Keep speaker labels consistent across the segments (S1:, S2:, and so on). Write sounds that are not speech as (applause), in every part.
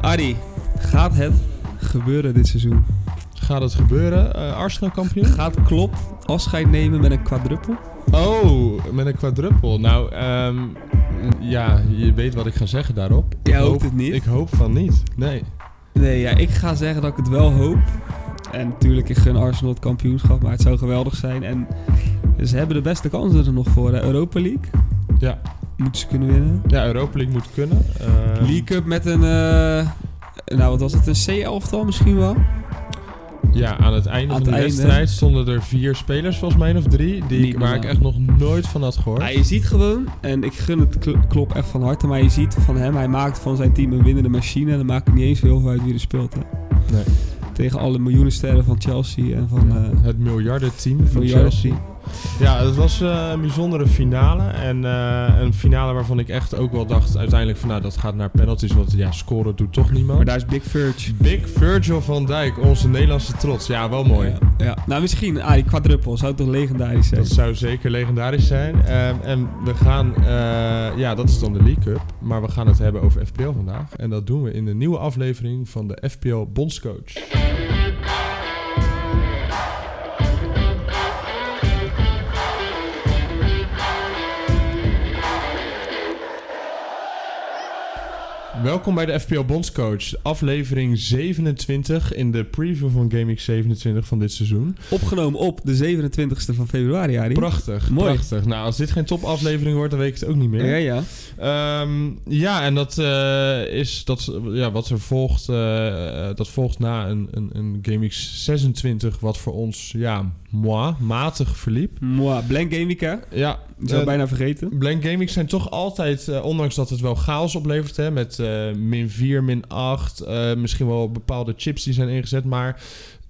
S1: Adi, gaat het gebeuren dit seizoen?
S2: Gaat het gebeuren? Eh, Arsenal kampioen?
S1: Gaat Klopp afscheid nemen met een quadruppel?
S2: Oh, met een quadruppel. Nou, ehm, ja, je weet wat ik ga zeggen daarop.
S1: Jij
S2: Ik
S1: hoopt
S2: hoop-
S1: het niet?
S2: Ik hoop van niet. Nee.
S1: Nee, ja, ik ga zeggen dat ik het wel hoop. En natuurlijk, ik gun Arsenal het kampioenschap, maar het zou geweldig zijn. En ze hebben de beste kansen er nog voor. Hè. Europa League
S2: Ja,
S1: moeten ze kunnen winnen.
S2: ja Europa League moet kunnen. Ehm,
S1: League Cup met een, eh, nou wat was het, een C-elftal misschien wel?
S2: Ja, aan het einde
S1: Aan
S2: van de
S1: het einde.
S2: wedstrijd stonden er vier spelers volgens mij, of drie, die
S1: Niet
S2: ik, waar ik
S1: normaal.
S2: echt nog nooit van had gehoord.
S1: Ja, je ziet gewoon, en ik gun het Kl- Klopp echt van harte, maar je ziet van hem, hij maakt van zijn team een winnende machine. En dan maakt het niet eens heel veel uit wie er speelt. Hè.
S2: Nee.
S1: Tegen alle miljoenen sterren van Chelsea en van... eh
S2: het miljardenteam van
S1: miljarden
S2: Chelsea. Ja, het was eh, een bijzondere finale. En eh, een finale waarvan ik echt ook wel dacht uiteindelijk van nou, dat gaat naar penalties. Want ja, scoren doet toch niemand.
S1: Maar daar is Big Verge.
S2: Big Virgil van Dijk, onze Nederlandse trots. Ja, wel mooi.
S1: Ja, ja. Nou, misschien, ah, die quadruppel zou toch legendarisch zijn.
S2: Dat zou zeker legendarisch zijn. Ehm, en we gaan, eh, ja, dat is dan de League Cup. Maar we gaan het hebben over FPL vandaag. En dat doen we in de nieuwe aflevering van de FPL Bondscoach. Welkom bij de FPL Bondscoach, aflevering 27 in de preview van Game Week 27 van dit seizoen.
S1: Opgenomen op de 27e van februari, Arie.
S2: Prachtig,
S1: Mooi.
S2: prachtig. Nou, als dit geen topaflevering wordt, dan weet ik het ook niet meer.
S1: Ja, ja.
S2: Ehm, ja, en dat eh, is dat, ja, wat er volgt. eh, eh, dat volgt na een, een, een Game X 26, wat voor ons, ja, moi, matig verliep.
S1: Mooi. Blank Game Week, hè? Ik
S2: Ja,
S1: zou
S2: eh,
S1: het bijna vergeten.
S2: Blank Gaming zijn toch altijd, eh, ondanks dat het wel chaos oplevert, hè, met eh, min 4, min 8, eh, misschien wel bepaalde chips die zijn ingezet, maar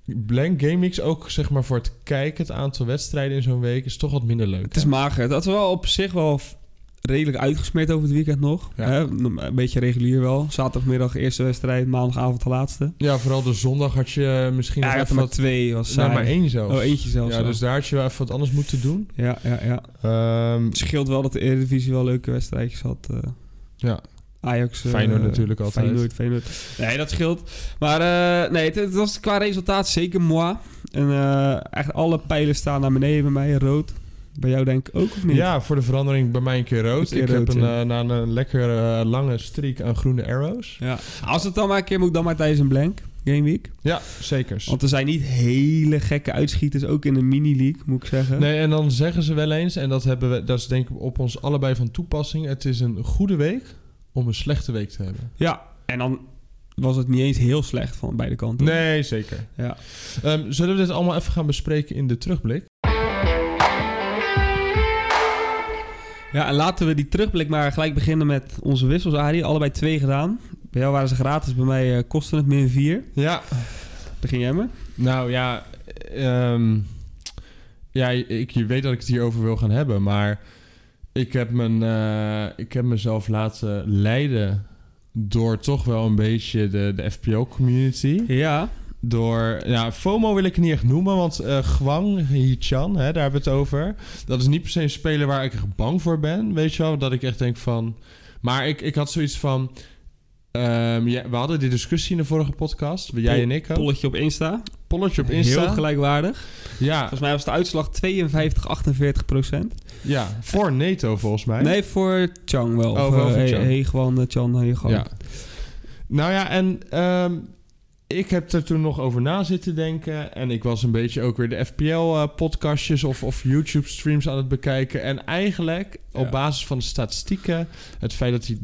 S2: Blank Gaming ook zeg maar voor het kijken, het aantal wedstrijden in zo'n week is toch wat minder leuk.
S1: Het is mager. Dat is wel op zich wel f- redelijk uitgesmeerd over het weekend nog.
S2: Ja.
S1: Hè? Een beetje regulier wel. Zaterdagmiddag eerste wedstrijd, maandagavond de laatste.
S2: Ja, vooral de zondag had je eh, misschien
S1: Ja,
S2: nog
S1: ik had er
S2: even
S1: maar
S2: wat...
S1: twee, was
S2: Nou,
S1: saai.
S2: maar één zelfs.
S1: Oh, eentje zelfs.
S2: ja, dus daar had je wel even wat anders moeten doen.
S1: ja, ja, ja.
S2: Ehm,
S1: Het scheelt wel dat de Eredivisie wel leuke wedstrijdjes had. eh.
S2: ja,
S1: Ajax. eh,
S2: Feyenoord natuurlijk altijd.
S1: Feyenoord, Feyenoord. Nee, dat scheelt. Maar eh, nee, het, het was qua resultaat zeker moi. En eh, echt alle pijlen staan naar beneden bij mij, rood. Bij jou denk ik ook, of niet?
S2: ja, voor de verandering bij mij een keer rood.
S1: Een keer
S2: ik
S1: rood,
S2: heb een,
S1: ja.
S2: eh, na een lekker eh, lange streak aan groene arrows.
S1: Ja. Als het dan maar een keer moet, dan maar tijdens een blank game week.
S2: Ja, zekers.
S1: Want er zijn niet hele gekke uitschieters, ook in de mini-league, moet ik zeggen.
S2: Nee, en dan zeggen ze wel eens, en dat, hebben we, dat is denk ik op ons allebei van toepassing: het is een goede week om een slechte week te hebben.
S1: Ja, en dan was het niet eens heel slecht van beide kanten.
S2: Nee, zeker.
S1: Ja.
S2: Ehm, zullen we dit allemaal even gaan bespreken in de terugblik?
S1: Ja, en laten we die terugblik maar gelijk beginnen met onze wissels, Arie. Allebei twee gedaan. Bij jou waren ze gratis, bij mij eh, kostte het min vier.
S2: Ja,
S1: Begin jij maar.
S2: Nou ja, ehm, ja ik, je weet dat ik het hierover wil gaan hebben, maar ik heb, mijn, eh, ik heb mezelf laten leiden door toch wel een beetje de, de FPO-community.
S1: Ja,
S2: Door, ja, FOMO wil ik het niet echt noemen, want eh Gwang Hee-chan, hè, daar hebben we het over. Dat is niet per se een speler waar ik echt bang voor ben, weet je wel. Dat ik echt denk van... Maar ik, ik had zoiets van... ehm, ja, we hadden die discussie in de vorige podcast, jij en ik ook.
S1: polletje op Insta.
S2: Polletje op
S1: Heel
S2: Insta.
S1: gelijkwaardig.
S2: Ja,
S1: Volgens mij was de uitslag 52, 48 procent.
S2: ja, voor NATO volgens mij.
S1: Nee, voor Chang wel.
S2: Oh,
S1: Of,
S2: wel
S1: eh,
S2: voor
S1: He-
S2: Chang.
S1: Heegwan, eh, Chan, Heegwan.
S2: Ja. Nou ja, en ehm, ik heb er toen nog over na zitten denken. En ik was een beetje ook weer de FPL-podcastjes eh, of, of YouTube-streams aan het bekijken. En eigenlijk,
S1: Ja.
S2: op basis van de statistieken... het feit dat hij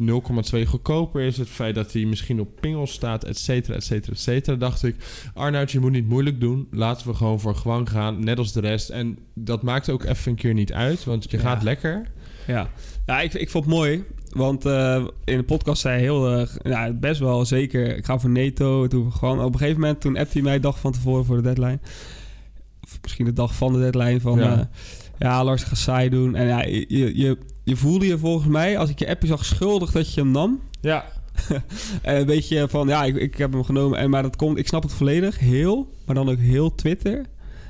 S2: 0,2 goedkoper is... het feit dat hij misschien op pingel staat, et cetera, et cetera, et cetera... dacht ik, Arnoud, je moet niet moeilijk doen. Laten we gewoon voor Gwang gaan, net als de rest. En dat maakt ook even een keer niet uit, want je
S1: Ja.
S2: gaat lekker.
S1: Ja, ja ik, ik vond het mooi. Want eh, in de podcast zei hij heel erg, ja, best wel zeker, ik ga voor NATO. Toen gewoon, op een gegeven moment, toen appte hij mij dag van tevoren voor de deadline. Of misschien de dag van de deadline van,
S2: Ja.
S1: ja, ja Lars, ik ga saai doen. En ja, je, je, je voelde je volgens mij, als ik je appje zag, schuldig dat je hem nam.
S2: Ja,
S1: Eh, een beetje van, ja, ik, ik heb hem genomen. En, maar dat komt, ik snap het volledig, heel, maar dan ook heel Twitter.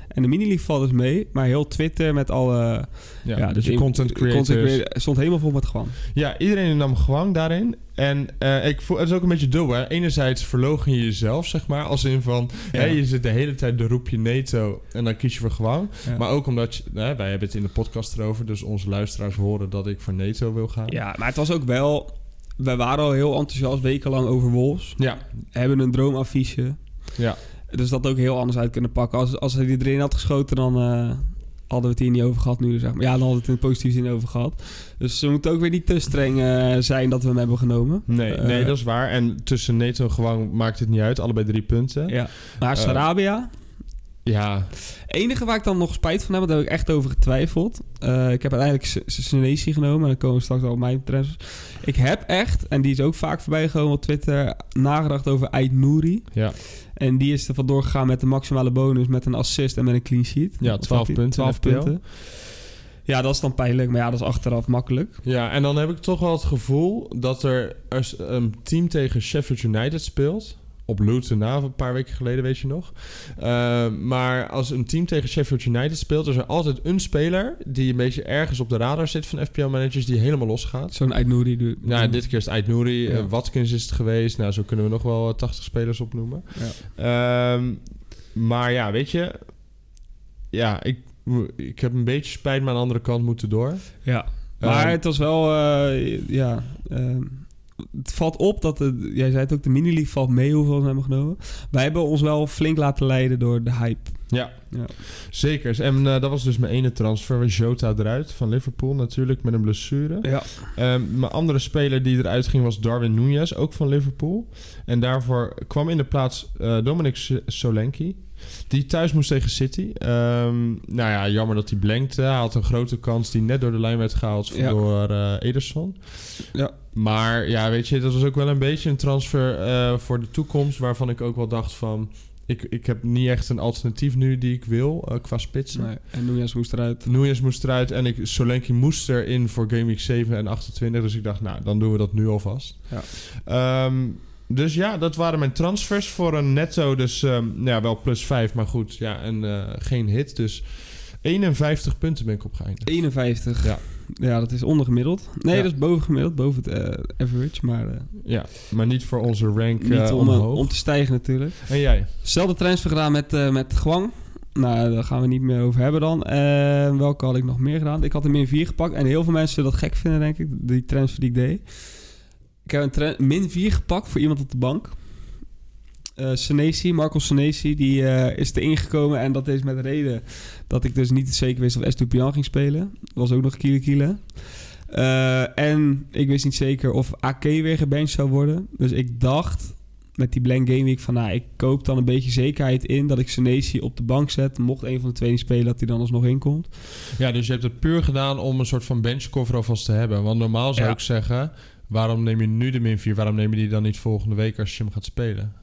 S1: En de mini-league valt dus mee. Maar heel Twitter met alle
S2: Ja,
S1: Ja, dus
S2: de
S1: in-
S2: content creators.
S1: content creators stond helemaal vol met gewoon.
S2: Ja, iedereen nam gewang daarin. En eh, ik voel, het is ook een beetje dubbel. Hè? Enerzijds verlogen je jezelf, zeg maar. Als in van,
S1: Ja.
S2: hè, je zit de hele tijd, dan roep je NATO en dan kies je voor gewang.
S1: Ja.
S2: Maar ook omdat, je, hè, wij hebben het in de podcast erover. Dus onze luisteraars horen dat ik voor NATO wil gaan.
S1: Ja, maar het was ook wel... We waren al heel enthousiast wekenlang over Wolves.
S2: ja,
S1: Hebben een droomaffiche.
S2: Ja.
S1: Dus dat ook heel anders uit kunnen pakken. Als, als hij die erin had geschoten, dan eh, hadden we het hier niet over gehad nu. Zeg maar. Ja, dan hadden we het in positieve zin over gehad. Dus we moeten ook weer niet te streng eh, zijn dat we hem hebben genomen.
S2: Nee,
S1: Eh,
S2: nee, dat is waar. En tussen NATO en gewang maakt het niet uit. Allebei drie punten.
S1: Ja. Maar
S2: Eh.
S1: Sarabia...
S2: Ja,
S1: enige waar ik dan nog spijt van heb, want daar heb ik echt over getwijfeld. Eh, ik heb uiteindelijk S- S- Senesi genomen. En dan komen we straks wel op mijn trends. Ik heb echt, en die is ook vaak voorbij gekomen op Twitter, nagedacht over Ait Nouri.
S2: ja.
S1: En die is er vandoor gegaan met de maximale bonus, met een assist en met een clean sheet.
S2: Ja,
S1: Of had
S2: 12
S1: hij-
S2: punten in
S1: 12
S2: FPL.
S1: punten. Ja, dat is dan pijnlijk. Maar ja, dat is achteraf makkelijk.
S2: ja, en dan heb ik toch wel het gevoel dat er als een team tegen Sheffield United speelt. Op Luton na, een paar weken geleden, weet je nog. Eh, maar als een team tegen Sheffield United speelt, is er altijd een speler die een beetje ergens op de radar zit van FPL-managers die helemaal losgaat.
S1: Zo'n Ait Nouri. doe-
S2: Nou, dit keer is het Ait Nouri,
S1: Ja.
S2: eh, Watkins is het geweest. Nou, zo kunnen we nog wel eh, 80 spelers opnoemen. Ehm, maar ja, weet je... Ja, ik, ik heb een beetje spijt, maar aan de andere kant moeten door.
S1: Ja. Maar
S2: Ehm,
S1: het was wel, eh, ja. ehm, het valt op dat, de, jij zei het ook, de mini-league valt mee hoeveel we hebben genomen. Wij hebben ons wel flink laten leiden door de hype.
S2: Ja,
S1: Ja.
S2: zeker. En eh, dat was dus mijn ene transfer. Was Jota eruit van Liverpool natuurlijk met een blessure.
S1: Ja.
S2: Ehm, mijn andere speler die eruit ging was Darwin Núñez, ook van Liverpool. En daarvoor kwam in de plaats eh, Dominic S- Solanke. Die thuis moest tegen City. Ehm, nou ja, jammer dat hij blankte. Hij had een grote kans die net door de lijn werd gehaald
S1: Ja.
S2: door eh, Ederson.
S1: Ja.
S2: Maar ja, weet je, dat was ook wel een beetje een transfer eh, voor de toekomst... waarvan ik ook wel dacht van... Ik, ik heb niet echt een alternatief nu die ik wil eh, qua spitsen.
S1: Nee, Dus, en Nunez moest eruit.
S2: Nunez moest eruit en ik, Solanke moest erin voor Game Week 7 en 28. Dus ik dacht, nou, dan doen we dat nu alvast.
S1: Ja.
S2: Ehm, dus ja, dat waren mijn transfers voor een netto. Dus ehm, nou ja, wel plus 5, maar goed. Ja, en eh, geen hit. Dus 51 punten ben ik op geëindigd.
S1: 51.
S2: Ja.
S1: Ja, dat is ondergemiddeld. Nee,
S2: Ja.
S1: dat is bovengemiddeld, boven het eh, average. Maar eh,
S2: Ja, maar niet voor onze rank
S1: niet
S2: eh,
S1: om,
S2: omhoog.
S1: om te stijgen natuurlijk.
S2: En jij?
S1: Zelfde transfer gedaan met, eh met Gwang. Nou, daar gaan we niet meer over hebben dan. Eh, welke had ik nog meer gedaan? Ik had hem in 4 gepakt. En heel veel mensen zullen dat gek vinden, denk ik. Die transfer die ik deed. Ik heb een tra- min 4 gepakt voor iemand op de bank. Eh Senesi, Marco Senesi, die eh, is erin gekomen. En dat is met reden dat ik dus niet zeker wist of Estupian ging spelen. Dat was ook nog kiele kiele. Eh, en ik wist niet zeker of AK weer gebenched zou worden. Dus ik dacht met die blank game week van... Nou, ik koop dan een beetje zekerheid in dat ik Senesi op de bank zet. Mocht een van de twee niet spelen, dat hij dan alsnog inkomt.
S2: Ja, dus je hebt het puur gedaan om een soort van benchcover alvast te hebben. Want normaal zou
S1: Ja.
S2: ik zeggen... Waarom neem je nu de min 4? Waarom neem je die dan niet volgende week als je hem gaat spelen?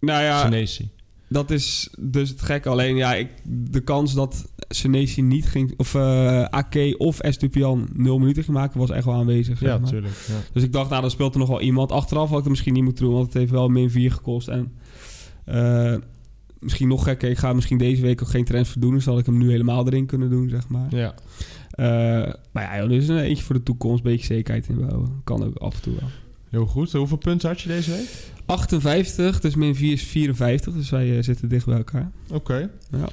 S1: Nou ja,
S2: Senesi.
S1: dat is dus het gekke. Alleen ja, ik, de kans dat Senesi niet ging... Of eh AK of Estupian nul minuten ging maken, was echt wel aanwezig. zeg
S2: Ja,
S1: maar.
S2: natuurlijk. Ja.
S1: Dus ik dacht, nou, dan speelt er nog wel iemand. Achteraf had ik het misschien niet moeten doen, want het heeft wel min 4 gekost. En eh, misschien nog gekker, ik ga misschien deze week ook geen transfer doen. Dus had ik hem nu helemaal erin kunnen doen, zeg maar.
S2: Ja.
S1: Eh, maar ja, joh, dus een eentje voor de toekomst, een beetje zekerheid inbouwen. Kan ook af en toe wel.
S2: Heel goed. Hoeveel punten had je deze week?
S1: 58, dus min 4 is 54, dus wij eh, zitten dicht bij elkaar.
S2: Oké.
S1: Ja.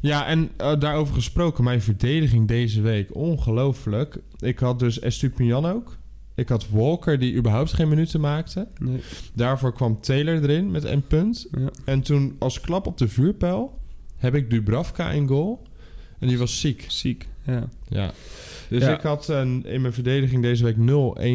S2: Ja, en eh, daarover gesproken, mijn verdediging deze week. Ongelooflijk. Ik had dus Estupiñan ook. Ik had Walker, die überhaupt geen minuten maakte.
S1: Nee.
S2: Daarvoor kwam Taylor erin met een punt.
S1: Ja.
S2: En toen als klap op de vuurpijl heb ik Dubravka in goal. En die was ziek.
S1: Ziek. Ja.
S2: Ja. Dus
S1: Ja.
S2: ik had eh, in mijn verdediging deze week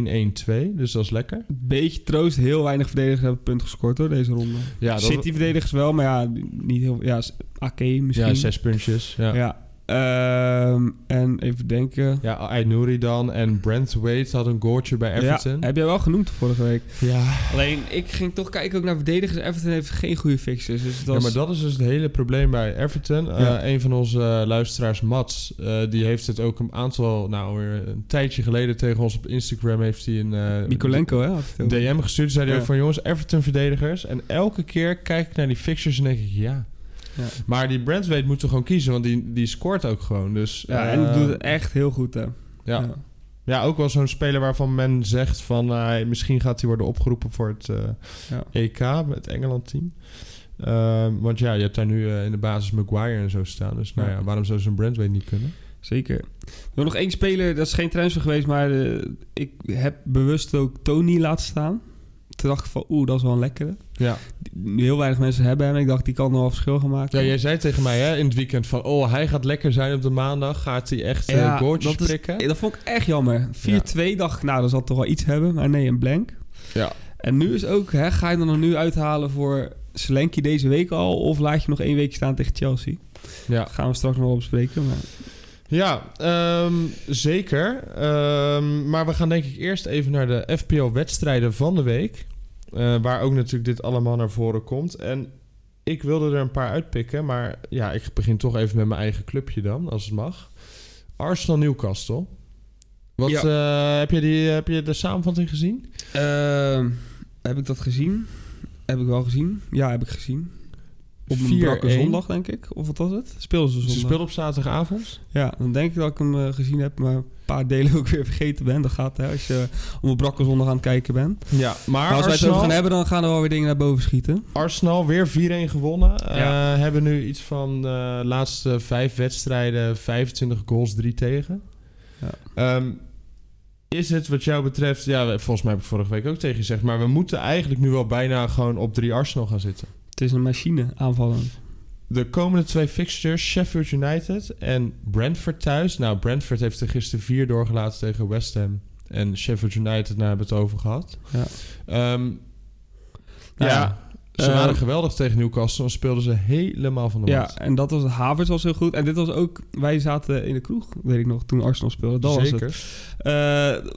S2: 0-1-1-2. Dus dat is lekker.
S1: Beetje troost, heel weinig verdedigers hebben punten gescoord hoor, deze ronde.
S2: Ja, dat
S1: City-verdedigers wel, maar ja, niet heel... Ja, Ake misschien.
S2: Ja, zes puntjes. Ja.
S1: Ja. Ehm, en even denken.
S2: Ja, Ainouri dan en Brent Wade had een goaltje bij Everton.
S1: Ja, heb jij wel genoemd vorige week.
S2: Ja,
S1: Alleen, ik ging toch kijken ook naar verdedigers. Everton heeft geen goede fixes. Dus dat
S2: maar dat is dus het hele probleem bij Everton. Eh,
S1: Ja.
S2: een van onze eh, luisteraars, Mats, eh, die heeft het ook een aantal, nou weer een tijdje geleden tegen ons op Instagram heeft hij een eh,
S1: Mikolenko, hè? had het over.
S2: DM gestuurd. Zei hij
S1: Ja.
S2: ook van jongens, Everton verdedigers. En elke keer kijk ik naar die fixtures en denk ik, ja,
S1: Ja.
S2: Maar die Brandweight moeten we gewoon kiezen, want die, die scoort ook gewoon. Dus,
S1: Ja,
S2: eh,
S1: en doet het echt heel goed, hè.
S2: ja. Ja. ook wel zo'n speler waarvan men zegt van... eh, misschien gaat hij worden opgeroepen voor het eh,
S1: Ja.
S2: EK, het Engeland-team. Ehm, want ja, je hebt daar nu eh, in de basis Maguire en zo staan. Dus nou
S1: Ja.
S2: ja, waarom zou zo'n Brandweight niet kunnen?
S1: Zeker. Er was nog één speler, dat is geen transfer geweest, maar eh, ik heb bewust ook Tony laten staan. Toen dacht ik van, oeh, dat is wel een lekkere.
S2: Ja.
S1: Die- Heel weinig mensen hebben hem. Ik dacht, die kan nog wel verschil gaan maken.
S2: Ja, jij zei tegen mij hè, in het weekend van... oh, hij gaat lekker zijn op de maandag. Gaat hij echt eh
S1: Ja,
S2: goaltjes
S1: dat is-
S2: prikken?
S1: Eh, Dat vond ik echt jammer. 4-2 dacht ik, nou, dat zal toch wel iets hebben. Maar nee, een blank.
S2: Ja.
S1: En nu is ook, hè, ga je dan er nu uithalen voor Selenki deze week al? Of laat je hem nog één week staan tegen Chelsea?
S2: Ja.
S1: Dat gaan we straks nog wel bespreken. Maar
S2: Ja, ehm, zeker. Ehm, maar we gaan denk ik eerst even naar de FPL-wedstrijden van de week. Eh, waar ook natuurlijk dit allemaal naar voren komt. En ik wilde er een paar uitpikken. Maar ja, ik begin toch even met mijn eigen clubje dan, als het mag. Arsenal-Newcastle. Wat,
S1: Ja.
S2: eh, heb, je die, heb je de samenvatting gezien?
S1: Ehm, heb ik dat gezien? Heb ik wel gezien? Ja, heb ik gezien. Op een
S2: 4-1.
S1: brakke zondag, denk ik. Of wat was het? Speelden ze zondag.
S2: Ze speelde op zaterdagavond.
S1: Ja, dan denk ik dat ik hem eh, gezien heb, maar een paar delen (laughs) ook weer vergeten ben. Dat gaat hè, als je op een brakke zondag aan het kijken bent. Maar,
S2: Ja, maar,
S1: als wij het
S2: Arsenal,
S1: over gaan hebben, dan gaan er wel weer dingen naar boven schieten.
S2: Arsenal weer 4-1 gewonnen. Eh,
S1: Ja.
S2: hebben nu iets van de laatste vijf wedstrijden 25 goals, 3 tegen.
S1: Ja.
S2: Ehm, is het wat jou betreft... Ja, we- volgens mij heb ik vorige week ook tegen je gezegd... maar we moeten eigenlijk nu wel bijna gewoon op 3 Arsenal gaan zitten.
S1: Het is een machine aanvallen.
S2: De komende twee fixtures, Sheffield United en Brentford thuis. Nou, Brentford heeft er gisteren vier doorgelaten tegen West Ham. En Sheffield United, daar hebben we het over gehad.
S1: Ja.
S2: Ehm,
S1: Nou
S2: ja,
S1: ja,
S2: ze waren
S1: eh,
S2: geweldig tegen Newcastle. En speelden ze helemaal van de mat.
S1: Ja, en dat was Havertz was heel goed. En dit was ook, wij zaten in de kroeg, weet ik nog, toen Arsenal speelde. Dat was het.
S2: Zeker.
S1: Eh,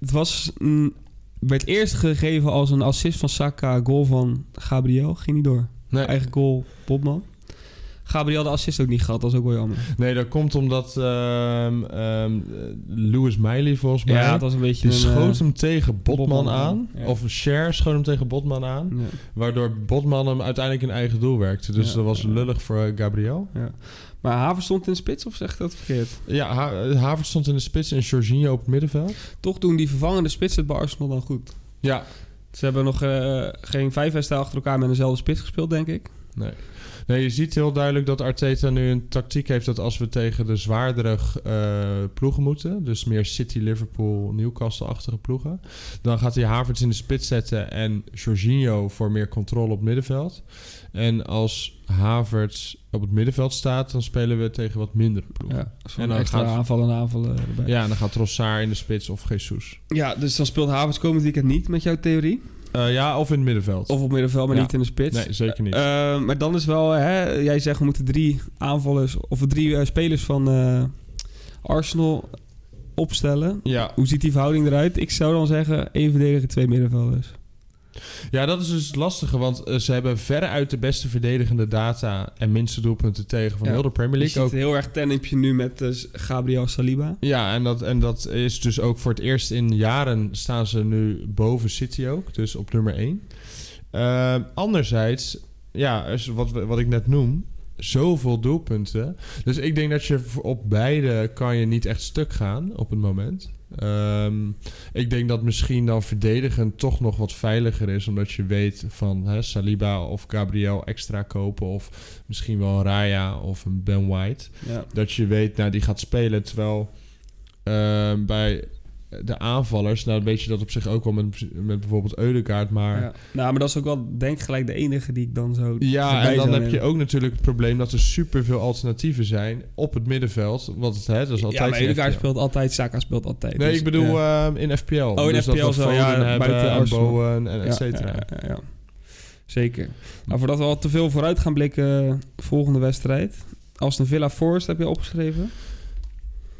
S1: het was, mm, werd eerst gegeven als een assist van Saka, goal van Gabriel. Ging niet door.
S2: Nee,
S1: Eigen goal, Bobman. Gabriel de assist ook niet gehad, dat is ook wel jammer.
S2: nee, dat komt omdat ehm, ehm, Lewis Miley volgens mij...
S1: Ja, het was een beetje
S2: die
S1: een... eh,
S2: schoot hem tegen Botman,
S1: Botman
S2: aan.
S1: aan, ja.
S2: Of Cher schoot hem tegen Botman aan.
S1: eh, ja,
S2: Waardoor Botman hem uiteindelijk in eigen doel werkte. Dus
S1: Ja,
S2: dat was
S1: ja.
S2: lullig voor eh, Gabriel.
S1: ja. Maar Havertz stond in de spits, of zeg ik dat verkeerd?
S2: Ja, Ha- Havertz stond in de spits en Jorginho op het middenveld.
S1: Toch doen die vervangende spits het bij Arsenal dan goed.
S2: Ja.
S1: Ze hebben nog eh, geen vijf wedstrijden achter elkaar met dezelfde spits gespeeld, denk ik.
S2: Nee, je ziet heel duidelijk dat Arteta nu een tactiek heeft... dat als we tegen de zwaardere eh, ploegen moeten... dus meer City, Liverpool, Newcastle-achtige ploegen... dan gaat hij Havertz in de spits zetten... en Jorginho voor meer controle op het middenveld. En als Havertz op het middenveld staat... dan spelen we tegen wat mindere ploegen. Ja,
S1: Ja, en
S2: En dan
S1: dan extra
S2: gaat-
S1: aanvallen en aanvallen erbij.
S2: en dan gaat Trossard in de spits of Jesus.
S1: Ja, dus dan speelt Havertz komend weekend niet met jouw theorie.
S2: Eh, ja, of in het middenveld.
S1: Of op middenveld, maar
S2: Ja.
S1: niet in de spits.
S2: nee, zeker niet.
S1: Eh, maar dan is wel, hè, jij zegt we moeten drie aanvallers of drie eh, spelers van eh, Arsenal opstellen.
S2: ja,
S1: Hoe ziet die verhouding eruit? Ik zou dan zeggen één verdediger, twee middenvelders.
S2: Ja, dat is dus het lastige, want eh, ze hebben veruit de beste verdedigende data en minste doelpunten tegen van
S1: Ja.
S2: heel de Premier
S1: Je
S2: League
S1: ziet
S2: ook.
S1: heel erg tennipje nu met eh, Gabriel Saliba.
S2: Ja, en dat, en dat is dus ook voor het eerst in jaren staan ze nu boven City ook, dus op nummer 1. anderzijds, ja, is wat, we- wat ik net noem, zoveel doelpunten. Dus ik denk dat je voor- op beide kan je niet echt stuk gaan op het moment. Ehm, ik denk dat misschien dan verdedigen toch nog wat veiliger is, omdat je weet van hè, Saliba of Gabriel extra kopen of misschien wel een Raya of een Ben White
S1: Ja.
S2: dat je weet, nou, die gaat spelen. Terwijl ehm, bij de aanvallers, nou, weet je dat op zich ook wel met, met bijvoorbeeld Eudegaard, maar... Ja.
S1: Ja. Nou, maar dat is ook wel, denk ik, gelijk de enige die ik dan zo. erbij
S2: en dan
S1: zou
S2: heb
S1: nemen.
S2: je ook natuurlijk het probleem dat er superveel alternatieven zijn op het middenveld. Want het, hè, dat is altijd...
S1: ja, maar
S2: in
S1: Edegaard
S2: FPL.
S1: speelt altijd, Saka speelt altijd.
S2: Nee,
S1: Dus,
S2: ik bedoel
S1: ja. Oh,
S2: ehm, in FPL.
S1: in
S2: dus dat
S1: FPL
S2: we
S1: zo,
S2: Foden
S1: ja,
S2: hebben
S1: buiten
S2: en
S1: Arsenal.
S2: Bowen en eh, et
S1: Ja,
S2: cetera.
S1: ja, ja, ja. Zeker. Maar voordat we al te veel vooruit gaan blikken, eh, volgende wedstrijd. Aston Villa Forest heb je opgeschreven.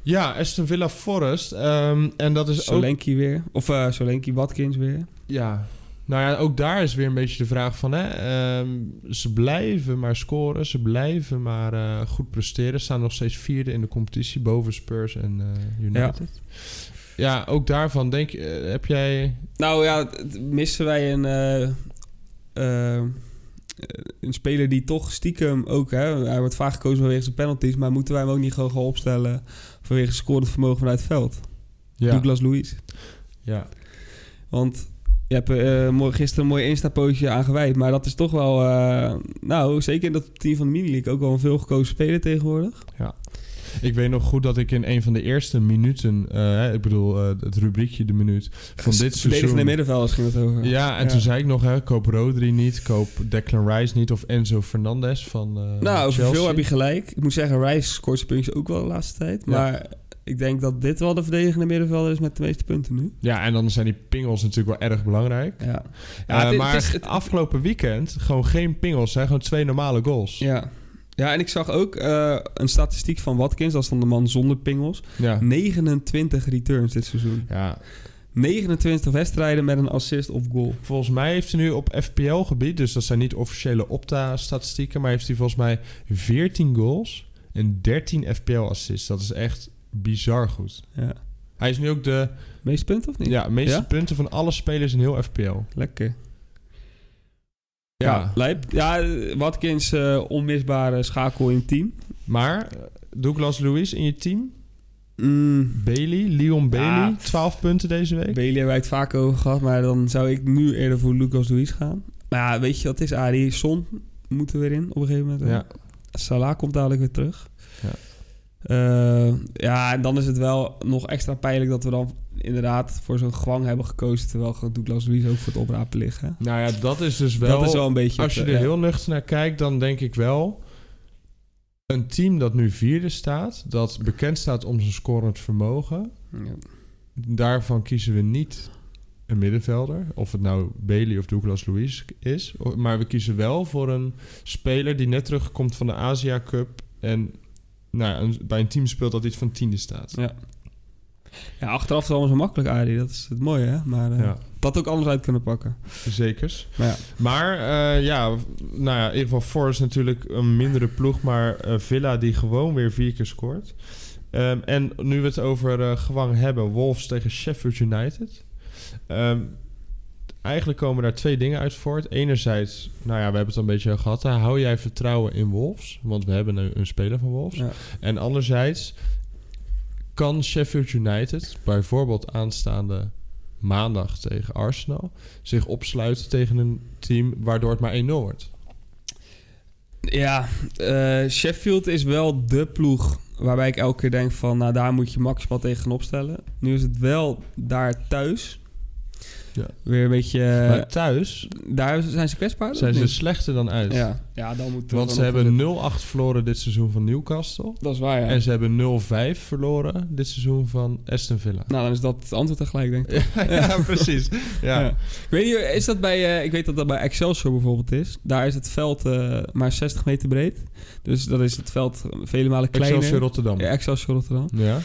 S2: Ja, Aston Villa Forest. ehm, en dat is ook
S1: Solenki weer. Of eh Solenki Watkins weer.
S2: Ja. Nou ja, ook daar is weer een beetje de vraag van... Hè, ehm, ze blijven maar scoren, ze blijven maar eh, goed presteren. Ze staan nog steeds vierde in de competitie, boven Spurs en eh, United. Ja. ook daarvan denk ik... eh, heb jij...
S1: Nou ja, t- missen wij een eh, eh, een speler die toch stiekem ook... Hè, hij wordt vaak gekozen vanwege zijn penalties... maar moeten wij hem ook niet gewoon gaan opstellen... vanwege scorend vermogen vanuit het veld?
S2: Ja.
S1: Douglas Luiz.
S2: ja.
S1: Want je hebt eh, mooi- gisteren een mooi Insta-poosje aan gewijd... maar dat is toch wel... eh, nou, zeker in dat team van de Mini-League... ook wel een veelgekozen speler tegenwoordig.
S2: Ik weet nog goed dat ik in een van de eerste minuten... eh, hè, ik bedoel, eh, het rubriekje de minuut van dit
S1: Verdedigende
S2: seizoen...
S1: middenvelders ging het over.
S2: Ja, en
S1: Ja.
S2: toen zei ik nog, hè, koop Rodri niet, koop Declan Rice niet of Enzo Fernandez van eh
S1: Nou, over
S2: Chelsea.
S1: veel heb je gelijk. Ik moet zeggen, Rice scoort zijn puntjes ook wel de laatste tijd.
S2: Ja.
S1: Maar ik denk dat dit wel de verdedigende middenvelder is met de meeste punten nu.
S2: Ja, en dan zijn die pingels natuurlijk wel erg belangrijk.
S1: Ja,
S2: Eh,
S1: het- het
S2: maar
S1: is- het-
S2: afgelopen weekend gewoon geen pingels, hè, gewoon twee normale goals.
S1: ja. ja en ik zag ook eh, een statistiek van Watkins. Dat is dan de man zonder pingels.
S2: ja.
S1: 29 returns dit seizoen.
S2: Ja,
S1: 29 wedstrijden met een assist of goal.
S2: volgens mij heeft hij nu op FPL-gebied, dus dat zijn niet officiële Opta-statistieken, maar heeft hij volgens mij 14 goals en 13 FPL-assists. Dat is echt bizar goed.
S1: Ja.
S2: Hij is nu ook de
S1: Meeste punten of niet?
S2: ja, meeste
S1: Ja?
S2: punten van alle spelers in heel FPL.
S1: Lekker. Ja,
S2: Ja.
S1: lijp. Ja, eh, Watkins eh, onmisbare schakel in het team.
S2: Maar eh, Douglas Lewis in je team,
S1: Mm,
S2: Bailey, Leon Bailey,
S1: Ja.
S2: 12 punten deze week.
S1: Bailey hebben wij het vaak over gehad, maar dan zou ik nu eerder voor Lucas Luis gaan. Maar ja, weet je wat het is, Arie? Son moet er weer in op een gegeven moment. hè?
S2: Ja.
S1: Salah komt dadelijk weer terug.
S2: Ja.
S1: Eh, ja, en dan is het wel nog extra pijnlijk dat we dan inderdaad voor zo'n gwang hebben gekozen. Terwijl gewoon Douglas Luis ook voor het oprapen ligt. hè?
S2: Nou ja, dat is dus wel...
S1: dat is wel een beetje...
S2: Als je
S1: het,
S2: er
S1: eh,
S2: heel nuchter naar kijkt, dan denk ik wel... Een team dat nu vierde staat, dat bekend staat om zijn scorend vermogen...
S1: ja.
S2: daarvan kiezen we niet een middenvelder. Of het nou Bailey of Douglas Luiz is. O- Maar we kiezen wel voor een speler die net terugkomt van de Asia Cup... en nou, ja, een- bij een team speelt dat iets van tiende staat.
S1: Ja, achteraf is het allemaal zo makkelijk, Arie. Dat is het mooie, hè? Maar eh,
S2: Ja,
S1: dat ook anders uit kunnen pakken.
S2: zekers.
S1: Maar ja.
S2: Maar eh, ja, nou ja, in ieder geval Forest natuurlijk een mindere ploeg, maar eh, Villa die gewoon weer vier keer scoort. Ehm, en nu we het over eh gewang hebben, Wolves tegen Sheffield United. Ehm, eigenlijk komen daar twee dingen uit voort. Enerzijds, nou ja, we hebben het al een beetje gehad. hè, Hou jij vertrouwen in Wolves? Want we hebben een, een speler van Wolves.
S1: Ja.
S2: En anderzijds, kan Sheffield United bijvoorbeeld aanstaande maandag tegen Arsenal zich opsluiten tegen een team waardoor het maar 1-0 wordt.
S1: Ja, eh, Sheffield is wel de ploeg waarbij ik elke keer denk van... nou, daar moet je maximaal tegen gaan opstellen. Nu is het wel daar thuis.
S2: Ja.
S1: Weer een beetje... eh,
S2: maar thuis
S1: daar zijn ze kwetsbaar.
S2: zijn
S1: of
S2: ze
S1: niet?
S2: slechter dan uit.
S1: Ja. ja, dan moet
S2: Want ze hebben 0-8 verloren dit seizoen van Newcastle.
S1: Dat is waar, ja.
S2: En ze hebben 0-5 verloren dit seizoen van Aston
S1: (laughs)
S2: Villa.
S1: Nou, dan is dat het antwoord tegelijk, denk ik.
S2: ja, (laughs) ja, precies. Ja.
S1: Ja. Ik weet niet, is dat bij... eh, ik weet dat dat bij Excelsior bijvoorbeeld is. Daar is het veld eh, maar 60 meter breed. Dus dat is het veld vele malen kleiner.
S2: Excelsior Rotterdam.
S1: Ja,
S2: Ja.
S1: Excelsior Rotterdam.
S2: Ja.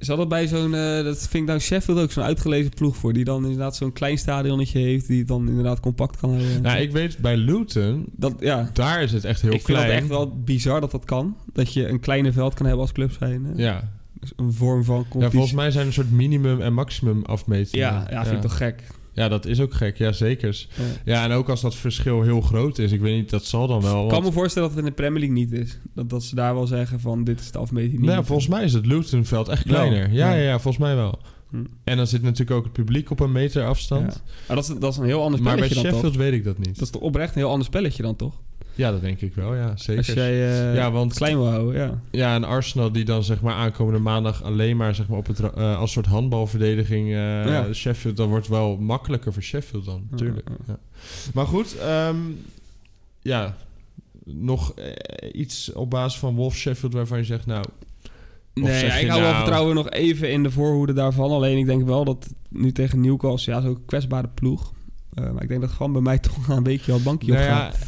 S1: Ze hadden bij zo'n, eh, dat vind ik nou Sheffield ook, zo'n uitgelezen ploeg voor. Die dan inderdaad zo'n klein stadionnetje heeft, die het dan inderdaad compact kan houden.
S2: Nou, ik weet bij Luton,
S1: dat, ja.
S2: daar is het echt heel
S1: ik vind
S2: klein.
S1: dat echt wel bizar dat dat kan. Dat je een kleiner veld kan hebben als club zijn. hè.
S2: Ja.
S1: Dus een vorm van
S2: ja, volgens
S1: competitie.
S2: mij zijn er een soort minimum en maximum afmetingen.
S1: Ja, ja, vind ik toch gek.
S2: Ja, dat is ook gek. Ja, zekers.
S1: Ja.
S2: Ja, en ook als dat verschil heel groot is. Ik weet niet, dat zal dan wel.
S1: Ik
S2: want-
S1: kan me voorstellen dat het in de Premier League niet is. Dat, dat ze daar wel zeggen van, dit is de afmeting niet.
S2: Nou, ja, volgens mij is het Lutonveld echt kleiner.
S1: Wel.
S2: Ja, ja,
S1: Ja.
S2: ja, volgens mij wel.
S1: Hm.
S2: En dan zit natuurlijk ook het publiek op een meter
S1: Ja.
S2: afstand.
S1: Maar dat is, dat is een heel ander
S2: Maar
S1: spelletje
S2: bij
S1: dan
S2: Sheffield
S1: toch?
S2: weet ik dat niet.
S1: Dat is toch oprecht een heel ander spelletje dan toch?
S2: Ja, dat denk ik wel, ja, zeker.
S1: Als jij eh,
S2: ja, want
S1: het klein wil houden, ja.
S2: ja, en Arsenal die dan zeg maar aankomende maandag alleen maar zeg maar op het ra- eh, als soort handbalverdediging eh,
S1: Ja.
S2: Sheffield, dat wordt wel makkelijker voor Sheffield dan, natuurlijk.
S1: Ja, ja,
S2: Ja. Maar goed, ehm, ja, nog eh, iets op basis van Wolf Sheffield waarvan je zegt, nou, Of
S1: Nee,
S2: zeg
S1: ja,
S2: je
S1: ik hou
S2: nou-
S1: wel vertrouwen nog even in de voorhoede daarvan. Alleen ik denk wel dat nu tegen Newcastle, ja, is ook een kwetsbare ploeg. Eh, maar ik denk dat gewoon bij mij (laughs) toch een weekje al het bankje
S2: Nou
S1: op gaat.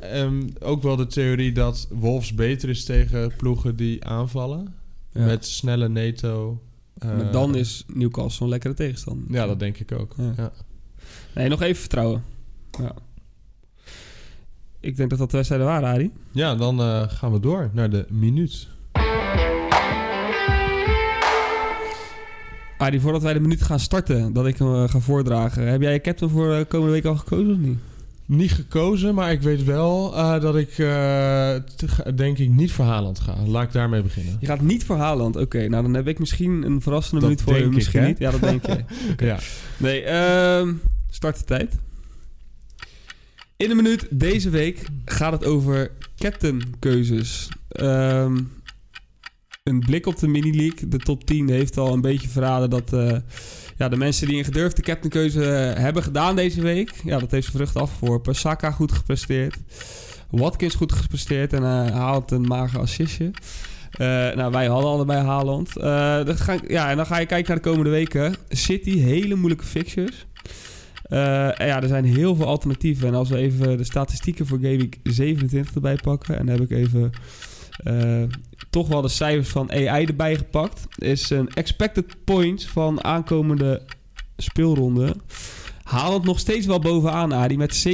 S2: ja, ehm, ook wel de theorie dat Wolves beter is tegen ploegen die aanvallen.
S1: Ja.
S2: Met snelle NATO. eh,
S1: Maar dan is Newcastle een lekkere tegenstander.
S2: Ja, dat denk ik ook. Ja.
S1: Ja. Nee, nog even vertrouwen. Ja. Ik denk dat dat de wedstrijden waren, Arie.
S2: Ja, dan eh, gaan we door naar de minuut.
S1: Arie, voordat wij de minuut gaan starten, dat ik hem eh, ga voordragen. Heb jij je captain voor eh, komende week al gekozen of niet?
S2: niet gekozen, maar ik weet wel eh, dat ik eh, te- ga- denk ik niet voor Haaland ga. Laat ik daarmee beginnen.
S1: Je gaat niet voor Haaland. Oké, nou dan heb ik misschien een verrassende
S2: Dat
S1: minuut voor je.
S2: denk ik,
S1: Misschien
S2: hè?
S1: niet. Ja, dat denk
S2: (laughs)
S1: je. Oké.
S2: Ja.
S1: Nee, ehm, start de tijd. In de minuut deze week gaat het over captainkeuzes. Ehm, een blik op de mini-league. De top 10 heeft al een beetje verraden dat eh, ja, de mensen die een gedurfde captainkeuze eh, hebben gedaan deze week... Ja, dat heeft zijn vruchten afgeworpen. Saka goed gepresteerd. Watkins goed gepresteerd en eh haalt een mager assistje. Eh, nou, wij hadden allebei Haaland. Eh, dan ga ik- ja, en dan ga je kijken naar de komende weken. City, hele moeilijke fixtures. Eh, en ja, er zijn heel veel alternatieven. En als we even de statistieken voor Game Week 27 erbij pakken... en dan heb ik even eh, toch wel de cijfers van AI erbij gepakt... is een expected point van aankomende speelronde. Haaland nog steeds wel bovenaan, Adi, met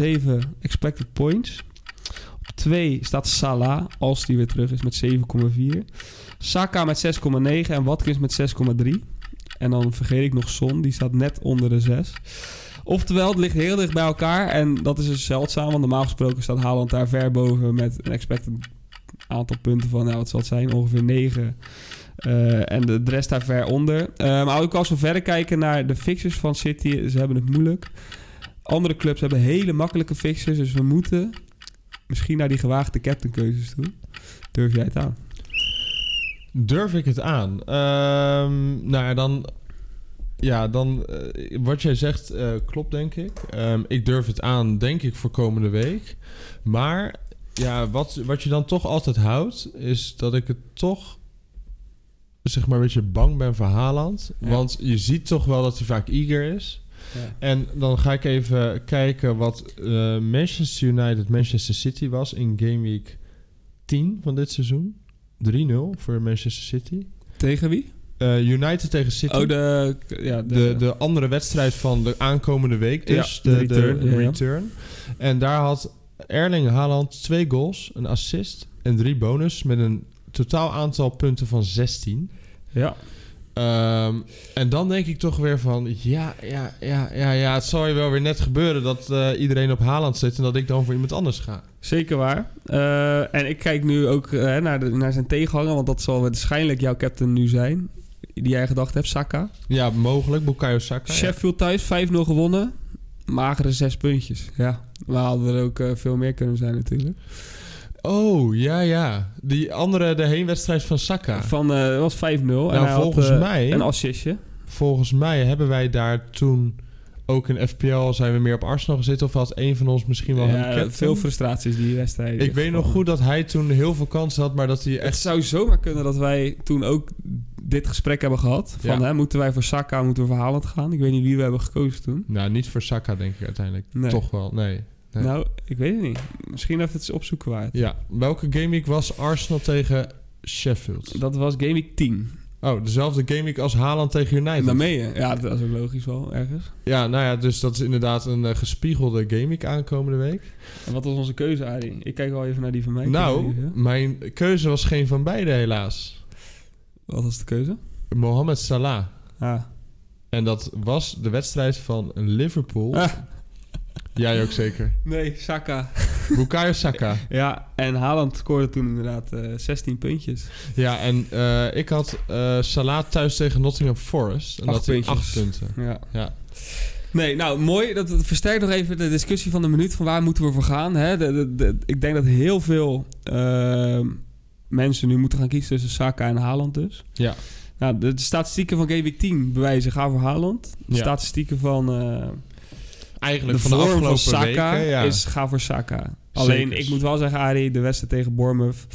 S1: 7,7 expected points. Op 2 staat Salah, als die weer terug is, met 7,4. Saka met 6,9 en Watkins met 6,3. En dan vergeet ik nog Son, die staat net onder de 6. Oftewel, het ligt heel dicht bij elkaar. En dat is dus zeldzaam, want normaal gesproken staat Haaland daar ver boven met een expected aantal punten van, nou, wat zal het zijn, ongeveer 9. Eh, en de de rest daar ver onder. Eh, maar ook als we verder kijken naar de fixers van City, ze hebben het moeilijk. Andere clubs hebben hele makkelijke fixers, dus we moeten misschien naar die gewaagde captainkeuzes toe. Durf jij het aan?
S2: Durf ik het aan? Ehm, nou ja, dan... Ja, dan... eh, wat jij zegt eh, klopt, denk ik. Ehm, ik durf het aan, denk ik, voor komende week. Maar ja, wat, wat je dan toch altijd houdt... is dat ik het toch... zeg maar een beetje bang ben voor Haaland.
S1: Ja.
S2: Want je ziet toch wel dat hij vaak eager is. En dan ga ik even kijken wat eh, Manchester United Manchester City was in Game Week 10 van dit seizoen. 3-0 voor Manchester City.
S1: Tegen wie?
S2: Eh, United tegen City.
S1: Oh,
S2: de,
S1: de, ja, de,
S2: de, andere wedstrijd van de aankomende week dus.
S1: Ja,
S2: de,
S1: de return,
S2: de
S1: ja, ja.
S2: return. En daar had Erling Haaland twee goals, een assist en drie bonus met een totaal aantal punten van 16.
S1: ja.
S2: Ehm, en dan denk ik toch weer van... Ja, ja, ja, ja, ja. Het zal je wel weer net gebeuren dat eh, iedereen op Haaland zit... en dat ik dan voor iemand anders ga.
S1: Zeker waar. Eh, en ik kijk nu ook eh, naar, de, naar zijn tegenhanger, want dat zal waarschijnlijk jouw captain nu zijn. Die jij gedacht hebt, Saka.
S2: Ja, mogelijk. Bukayo Saka. Oh, ja.
S1: Sheffield thuis, 5-0 gewonnen. Magere zes puntjes. Ja, we hadden er ook eh, veel meer kunnen zijn natuurlijk.
S2: Oh, ja, ja. Die andere, de heenwedstrijd van Saka.
S1: Van, eh, het was 5-0. en
S2: nou,
S1: hij
S2: volgens,
S1: had, eh,
S2: mij,
S1: Een assistje.
S2: volgens mij hebben wij daar toen... Ook in FPL zijn we meer op Arsenal gezeten... of had een van ons misschien wel...
S1: Ja,
S2: hem captain?
S1: veel frustraties die wedstrijd.
S2: ik weet nog goed dat hij toen heel veel kansen had... maar dat hij
S1: Het
S2: echt...
S1: zou zomaar kunnen dat wij toen ook dit gesprek hebben gehad. Van
S2: Ja.
S1: hè, moeten wij voor Saka, moeten we voor Haaland gaan? Ik weet niet wie we hebben gekozen toen.
S2: Nou, niet voor Saka denk ik uiteindelijk.
S1: Nee.
S2: Toch wel, nee. Ja.
S1: Nou, ik weet het niet. Misschien even het eens opzoeken waard.
S2: Ja, welke gameweek was Arsenal tegen Sheffield?
S1: Dat was Game Week 10.
S2: Oh, dezelfde gameweek als Haaland tegen United.
S1: Daarmee, hè? Ja, dat is ook logisch wel, ergens.
S2: Ja, nou ja, dus dat is inderdaad een eh, gespiegelde gameweek aankomende week.
S1: En wat was onze keuze, Arie? Ik kijk wel even naar die van mij.
S2: nou,
S1: Even.
S2: mijn keuze was geen van beide helaas.
S1: Wat was de keuze?
S2: Mohamed Salah.
S1: Ah.
S2: En dat was de wedstrijd van Liverpool.
S1: Ah.
S2: Jij ook
S1: (laughs)
S2: zeker.
S1: Nee, Saka.
S2: Bukayo Saka.
S1: Ja, en Haaland scoorde toen inderdaad eh, 16 puntjes.
S2: Ja, en eh, ik had eh Salah thuis tegen Nottingham Forest. En
S1: Acht
S2: dat hij
S1: puntjes.
S2: acht punten.
S1: Ja.
S2: Ja.
S1: Nee, nou mooi. Dat dat versterkt nog even de discussie van de minuut van waar moeten we voor gaan. Hè? De, de- de- ik denk dat heel veel ehm, mensen nu moeten gaan kiezen tussen Saka en Haaland dus.
S2: Ja.
S1: Nou, de, de statistieken van Game Week 10 bewijzen ga voor Haaland. De
S2: Ja.
S1: statistieken van eh,
S2: Eigenlijk
S1: de
S2: van de
S1: vorm
S2: afgelopen
S1: van Saka
S2: weken. Ja.
S1: is ga voor Saka. Alleen,
S2: Zekers.
S1: ik moet wel zeggen, Arie, de wedstrijd tegen Bournemouth...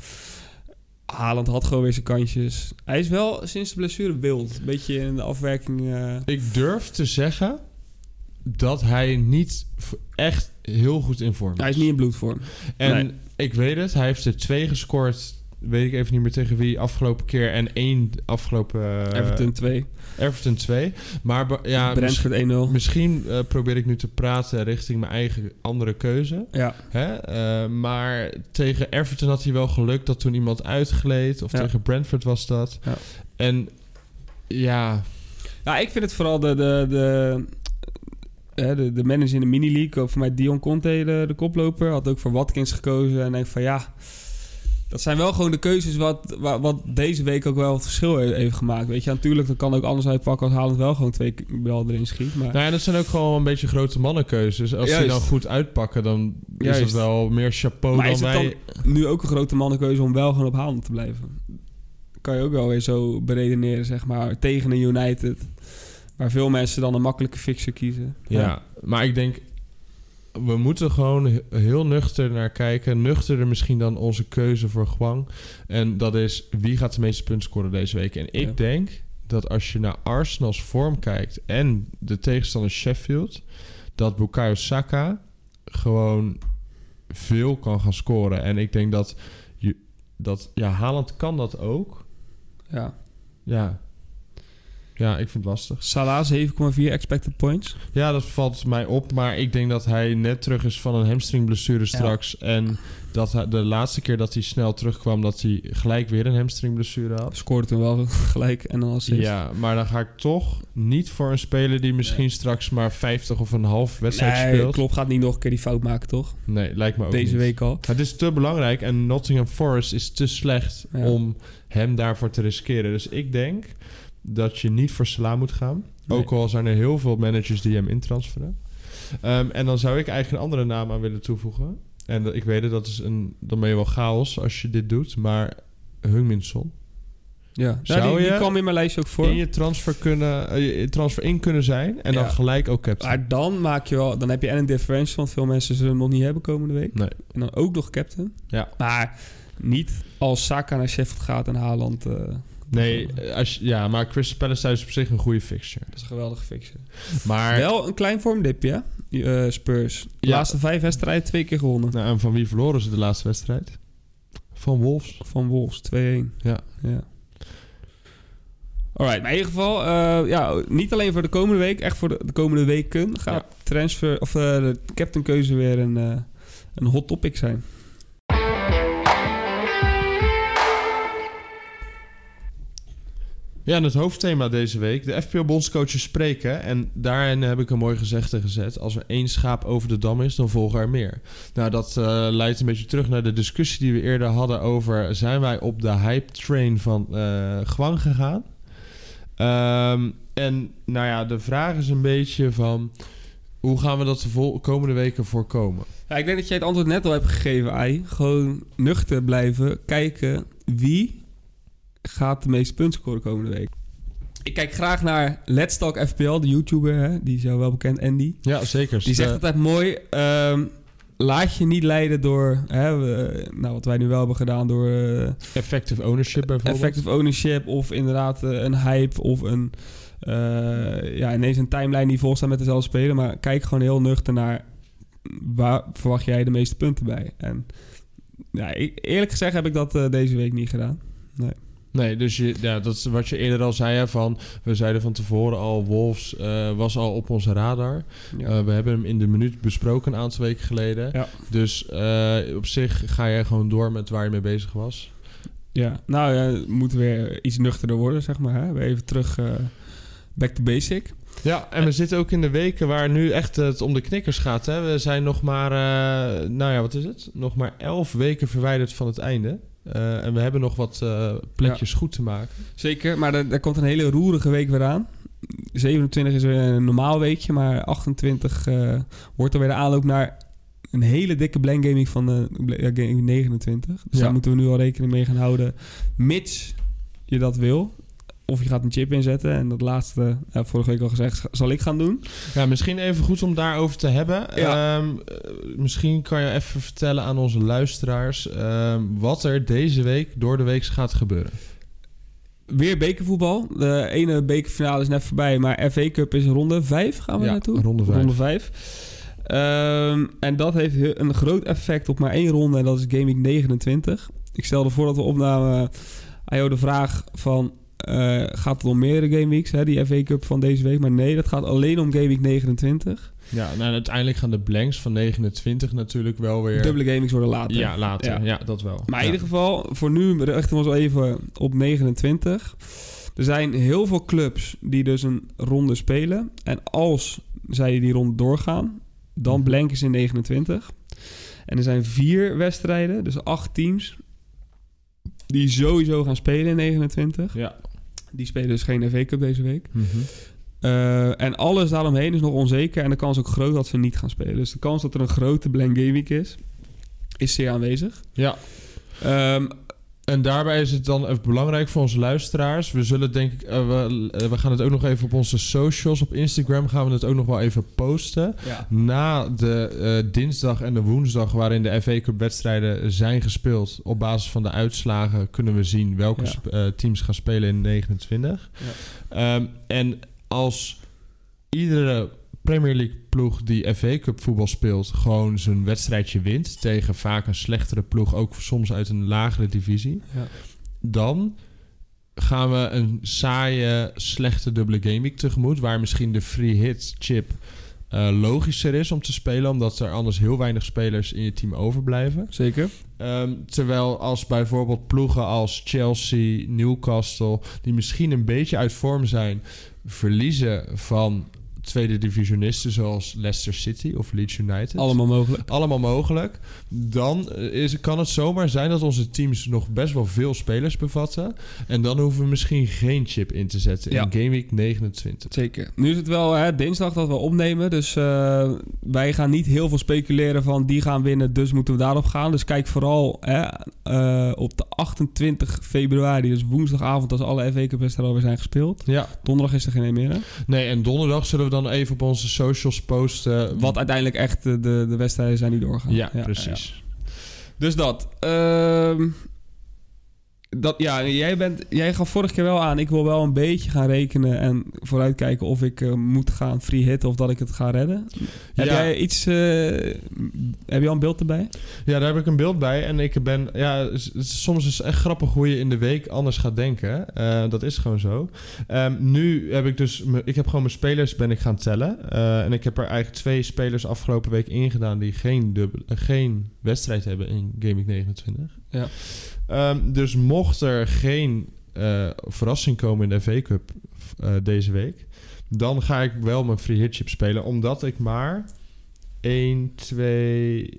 S1: Haaland had gewoon weer zijn kansjes. Hij is wel sinds de blessure wild. Een beetje in de afwerking... eh,
S2: Ik durf te zeggen dat hij niet v- echt heel goed in vorm is.
S1: hij is niet in bloedvorm.
S2: en
S1: nee.
S2: ik weet het, hij heeft er twee gescoord. Weet ik even niet meer tegen wie afgelopen keer. En één afgelopen... eh,
S1: Everton 2,
S2: Everton 2. Maar be- ja, mis-
S1: Brentford 1-0.
S2: misschien eh, probeer ik nu te praten richting mijn eigen andere keuze.
S1: Ja,
S2: Hè? Eh, maar tegen Everton had hij wel geluk dat toen iemand uitgleed. Of
S1: Ja.
S2: tegen Brentford was dat.
S1: Ja.
S2: En ja,
S1: ja ik vind het vooral de, de, de, hè, eh, de, de manager in de mini-league, ook voor mij Dion Conte, de, de koploper, had ook voor Watkins gekozen. En denk van ja, dat zijn wel gewoon de keuzes wat, wa- wat deze week ook wel het verschil he- heeft gemaakt. Weet je, natuurlijk, dat kan ook anders uitpakken als Haaland wel gewoon twee k- bal erin schiet. Maar
S2: Nou ja, dat zijn ook gewoon een beetje grote mannenkeuzes. Als die
S1: Juist.
S2: dan goed uitpakken, dan is het
S1: Juist.
S2: wel meer chapeau
S1: Maar
S2: dan
S1: is het
S2: wij.
S1: dan- nu ook een grote mannenkeuze om wel gewoon op Haaland te blijven. Kan je ook wel weer zo beredeneren, zeg maar, tegen een United. Waar veel mensen dan een makkelijke fixer kiezen.
S2: Ja. maar ik denk... We moeten gewoon he- heel nuchter naar kijken. Nuchterder misschien dan onze keuze voor Guang. En dat is, wie gaat de meeste punten scoren deze week? En ik
S1: Ja.
S2: denk dat als je naar Arsenal's vorm kijkt... en de tegenstander Sheffield... dat Bukayo Saka gewoon veel kan gaan scoren. En ik denk dat... Je, dat ja, Haaland kan dat ook.
S1: ja.
S2: Ja. Ja, ik vind het lastig.
S1: Salah 7,4 expected points.
S2: Ja, dat valt mij op. Maar ik denk dat hij net terug is van een hamstringblessure straks. En dat hij, de laatste keer dat hij snel terugkwam, dat hij gelijk weer een hamstringblessure had.
S1: Scoorde toen wel (laughs) gelijk en dan assist.
S2: Ja, maar dan ga ik toch niet voor een speler die misschien straks maar 50 of een half wedstrijd
S1: Nee,
S2: speelt.
S1: klopt. Gaat niet nog een keer die fout maken, toch?
S2: Nee, lijkt me ook
S1: Deze
S2: niet.
S1: week al.
S2: Het is te belangrijk en Nottingham Forest is te slecht
S1: Ja.
S2: om hem daarvoor te riskeren. Dus ik denk dat je niet voor Salah moet gaan.
S1: Nee.
S2: Ook al zijn er heel veel managers die hem intransferen. Ehm, en dan zou ik eigenlijk een andere naam aan willen toevoegen. En dat- ik weet het, dat is een, dan ben je wel chaos als je dit doet. Maar Hungminson.
S1: Ja.
S2: Zou
S1: Nou, die, die
S2: je-
S1: kwam in mijn lijstje ook
S2: In
S1: voor.
S2: je transfer, kunnen, eh, je transfer in kunnen zijn en
S1: Ja.
S2: dan gelijk ook captain.
S1: Maar dan maak je wel... Dan heb je en een differential, want veel mensen zullen hem nog niet hebben komende week.
S2: Nee.
S1: En dan ook nog captain.
S2: Ja.
S1: Maar niet als Saka naar Sheffield gaat en Haaland... eh,
S2: Nee, eh, als, je- ja, maar Crystal Palace thuis is op zich een goede fixture.
S1: Dat is een geweldige fixer.
S2: Maar
S1: Wel een klein vormdipje, hè? Die, eh, Spurs. De
S2: Ja.
S1: laatste vijf wedstrijden twee keer gewonnen.
S2: Nou, en van wie verloren ze de laatste wedstrijd? Van Wolves.
S1: Van Wolves, 2-1.
S2: Ja.
S1: ja. Alright, maar in ieder geval, eh, ja, niet alleen voor de komende week, echt voor de, de komende weken gaat transfer of eh, de captainkeuze weer een, eh, een hot topic zijn.
S2: Ja, en het hoofdthema deze week. De FPL-bondscoaches spreken. En daarin heb ik een mooi gezegde gezet. Als er één schaap over de dam is, dan volgen er meer. Nou, dat eh, leidt een beetje terug naar de discussie die we eerder hadden over... zijn wij op de hype train van eh Gwang gegaan? Ehm, en nou ja, de vraag is een beetje van... hoe gaan we dat de vol- komende weken voorkomen?
S1: Ja, ik denk dat jij het antwoord net al hebt gegeven, Ai. Gewoon nuchter blijven, kijken wie gaat de meeste punten scoren komende week. Ik kijk graag naar Let's Talk FPL, de YouTuber, hè? die is jou wel bekend, Andy.
S2: Ja, zeker.
S1: Die zegt altijd mooi. ehm, laat je niet leiden door hè, we- nou, wat wij nu wel hebben gedaan door eh,
S2: effective ownership bijvoorbeeld.
S1: effective ownership of inderdaad eh, een hype of een eh, ja, ineens een timeline die vol staat met dezelfde speler. Maar kijk gewoon heel nuchter naar waar verwacht jij de meeste punten bij. En ja, ik- eerlijk gezegd heb ik dat eh, deze week niet gedaan.
S2: Nee, dus je, ja, dat is wat je eerder al zei. Hè, van, we zeiden van tevoren al, Wolves eh, was al op onze radar. Eh, we hebben hem in de minuut besproken een aantal weken geleden.
S1: Ja.
S2: Dus eh, op zich ga jij gewoon door met waar je mee bezig was.
S1: Ja, nou ja, het moet weer iets nuchterder worden, zeg maar. Hè? Weer even terug eh, back to basic.
S2: Ja, en we zitten ook in de weken waar nu echt het om de knikkers gaat. Hè. We zijn nog maar, eh, nou ja, wat is het? Nog maar elf weken verwijderd van het einde. Eh, en we hebben nog wat eh, plekjes goed te maken.
S1: Zeker, maar er, er komt een hele roerige week weer aan. 27 is weer een normaal weekje, maar 28 eh, wordt er weer de aanloop naar een hele dikke blank gaming van de ja, game 29. Dus
S2: Ja.
S1: daar moeten we nu al rekening mee gaan houden, mits je dat wil. Of je gaat een chip inzetten en dat laatste, eh, vorige week al gezegd, z- zal ik gaan doen.
S2: Ja, misschien even goed om daarover te hebben.
S1: Ja.
S2: Ehm, eh, misschien kan je even vertellen aan onze luisteraars ehm, wat er deze week door de week gaat gebeuren.
S1: Weer bekervoetbal. De ene bekerfinale is net voorbij, maar FA Cup is ronde 5 gaan we
S2: Ja,
S1: naartoe.
S2: ronde vijf.
S1: Ronde 5. en dat heeft he- een groot effect op maar één ronde en dat is Gaming 29. Ik stelde voor dat we opnamen aan jou de vraag van... eh, gaat het om meerdere Game Weeks, hè, die FA Cup van deze week? Maar nee, dat gaat alleen om Game Week 29.
S2: Ja, nou, en uiteindelijk gaan de blanks van 29 natuurlijk wel weer.
S1: Dubbele Game Weeks worden later.
S2: Ja, later. Ja.
S1: Ja.
S2: dat wel.
S1: Maar in
S2: Ja.
S1: ieder geval, voor nu richten we ons wel even op 29. Er zijn heel veel clubs die dus een ronde spelen. En als zij die ronde doorgaan. Dan
S2: Mhm.
S1: blank is in 29. En er zijn vier wedstrijden, dus acht teams, die sowieso gaan spelen in 29.
S2: Ja.
S1: Die spelen dus geen FA Cup deze week.
S2: Mhm.
S1: Eh, en alles daaromheen is nog onzeker. En de kans is ook groot dat ze niet gaan spelen. Dus de kans dat er een grote blank game week is, is zeer aanwezig.
S2: Ja.
S1: Ehm,
S2: En daarbij is het dan even belangrijk voor onze luisteraars. We zullen denk ik, eh, we, eh, we gaan het ook nog even op onze socials, op Instagram gaan we het ook nog wel even posten.
S1: ja.
S2: Na de eh, dinsdag en de woensdag waarin de FA Cup wedstrijden zijn gespeeld, op basis van de uitslagen kunnen we zien welke
S1: Ja.
S2: sp- eh, teams gaan spelen in 29. Ehm, en als iedere Premier League ploeg die FA Cup voetbal speelt, gewoon zijn wedstrijdje wint tegen vaak een slechtere ploeg, ook soms uit een lagere divisie,
S1: Ja.
S2: dan gaan we een saaie, slechte dubbele gameweek tegemoet, waar misschien de free hit chip eh, logischer is om te spelen, omdat er anders heel weinig spelers in je team overblijven.
S1: Zeker.
S2: Ehm, terwijl als bijvoorbeeld ploegen als Chelsea, Newcastle, die misschien een beetje uit vorm zijn, verliezen van tweede divisionisten zoals Leicester City of Leeds United.
S1: Allemaal mogelijk.
S2: Allemaal mogelijk. Dan eh, is, kan het zomaar zijn dat onze teams nog best wel veel spelers bevatten. En dan hoeven we misschien geen chip in te zetten
S1: Ja.
S2: in Gameweek 29.
S1: Zeker. Nu is het wel hè, dinsdag dat we opnemen. Dus eh, wij gaan niet heel veel speculeren van die gaan winnen, dus moeten we daarop gaan. Dus kijk vooral hè, eh, op de 28 februari, dus woensdagavond, als alle FA Cup wedstrijden alweer zijn gespeeld.
S2: Ja,
S1: Donderdag is er geen een meer. hè?
S2: nee, en donderdag zullen we dan even op onze socials posten.
S1: Wat uiteindelijk echt eh, de, de wedstrijden zijn die doorgaan.
S2: Ja, precies.
S1: ja. Dus dat. ehm, dat ja, jij, bent, jij gaf vorige keer wel aan, ik wil wel een beetje gaan rekenen en vooruitkijken of ik eh, moet gaan free hitten of dat ik het ga redden. Heb
S2: Ja.
S1: jij iets... eh, heb je al een beeld erbij?
S2: Ja, daar heb ik een beeld bij. En ik ben. Ja, s- s- soms is het echt grappig hoe je in de week anders gaat denken. Eh, dat is gewoon zo. Ehm, nu heb ik dus. me- Ik heb gewoon mijn spelers ben ik gaan tellen. Eh, en ik heb er eigenlijk twee spelers afgelopen week ingedaan die geen, dubbel, eh, geen wedstrijd hebben in Game Week 29.
S1: Ja.
S2: Ehm, dus mocht er geen eh, verrassing komen in de FA Cup eh, deze week. Dan ga ik wel mijn free hit chip spelen. Omdat ik maar 1, 2,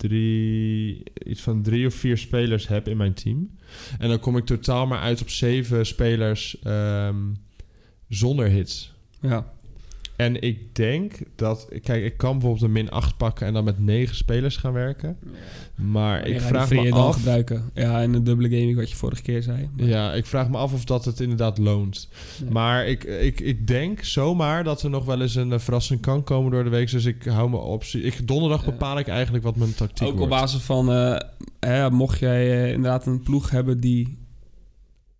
S2: drie, iets van drie of vier spelers heb in mijn team. En dan kom ik totaal maar uit op zeven spelers ehm, zonder hits.
S1: Ja.
S2: En ik denk dat... Kijk, ik kan bijvoorbeeld een min 8 pakken en dan met negen spelers gaan werken. Maar ik vraag me
S1: dan
S2: af...
S1: gebruiken. Ja, en de dubbele gaming wat je vorige keer zei. Maar-
S2: Ja, ik vraag me af of dat het inderdaad loont.
S1: Nee.
S2: Maar ik, ik, ik denk zomaar dat er nog wel eens een eh, verrassing kan komen door de week. Dus ik hou mijn optie... Ik, donderdag
S1: Ja.
S2: bepaal ik eigenlijk wat mijn tactiek
S1: Ook op
S2: wordt.
S1: basis van, eh, hè, mocht jij eh, inderdaad een ploeg hebben die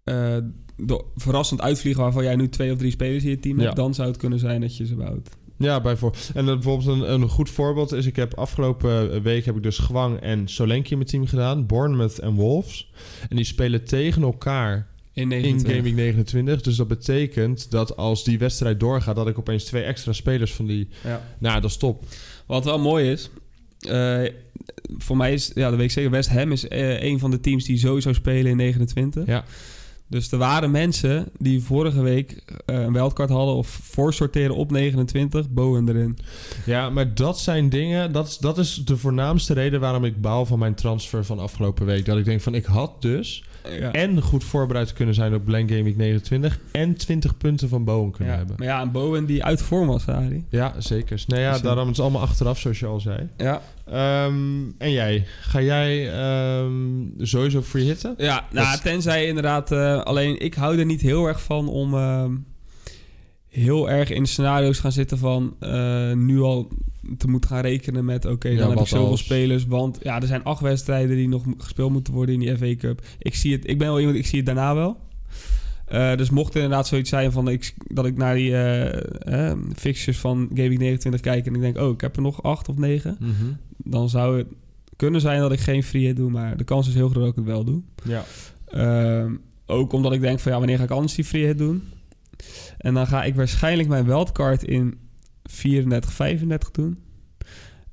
S1: eh, do- verrassend uitvliegen waarvan jij nu twee of drie spelers in je team hebt,
S2: Ja.
S1: dan zou het kunnen zijn dat je ze bouwt.
S2: Ja, bijvoorbeeld. En dat bijvoorbeeld een, een goed voorbeeld is... ik heb afgelopen week heb ik dus Gwang en Solenki in mijn team gedaan. Bournemouth en Wolves. En die spelen tegen elkaar
S1: In
S2: in Gaming 29. Dus dat betekent dat als die wedstrijd doorgaat... dat ik opeens twee extra spelers van die...
S1: Ja.
S2: Nou, dat is top.
S1: Wat wel mooi is, eh, voor mij is, ja, dat weet ik zeker, West Ham is eh, een van de teams die sowieso spelen in 29.
S2: Ja.
S1: Dus er waren mensen die vorige week eh, een wildcard hadden of voorsorteren op 29, Bowen erin.
S2: Ja, maar dat zijn dingen... Dat, is- dat is de voornaamste reden waarom ik baal van mijn transfer van afgelopen week. Dat ik denk van, ik had dus...
S1: Ja.
S2: en goed voorbereid kunnen zijn op Blank Gaming 29... en 20 punten van Bowen kunnen
S1: Ja,
S2: hebben.
S1: maar ja, en Bowen die uit vorm was, Harry.
S2: Ja, zeker. Nou ja,
S1: Dus, eh,
S2: daarom is het allemaal achteraf, zoals je al zei.
S1: Ja,
S2: Ehm, en jij? Ga jij ehm, sowieso free hitten?
S1: ja nou,
S2: Dat-
S1: tenzij inderdaad... eh, alleen, ik hou er niet heel erg van om... ehm, heel erg in scenario's gaan zitten van... eh, nu al te moeten gaan rekenen met... Oké,
S2: Ja,
S1: dan heb ik
S2: wat
S1: zoveel
S2: als?
S1: spelers. Want ja, er zijn acht wedstrijden die nog mo- gespeeld moeten worden in die FA Cup. Ik, zie het, ik ben wel iemand, ik zie het daarna wel. Eh, dus mocht er inderdaad zoiets zijn van ik, dat ik naar die eh, eh, fixtures van Gaming 29 kijk... en ik denk, oh, ik heb er nog acht of negen...
S2: Mhm.
S1: dan zou het kunnen zijn dat ik geen free hit doe, maar de kans is heel groot dat ik het wel doe.
S2: Ja.
S1: Ehm, ook omdat ik denk van ja, wanneer ga ik anders die free hit doen? En dan ga ik waarschijnlijk mijn wildcard in 34, 35 doen.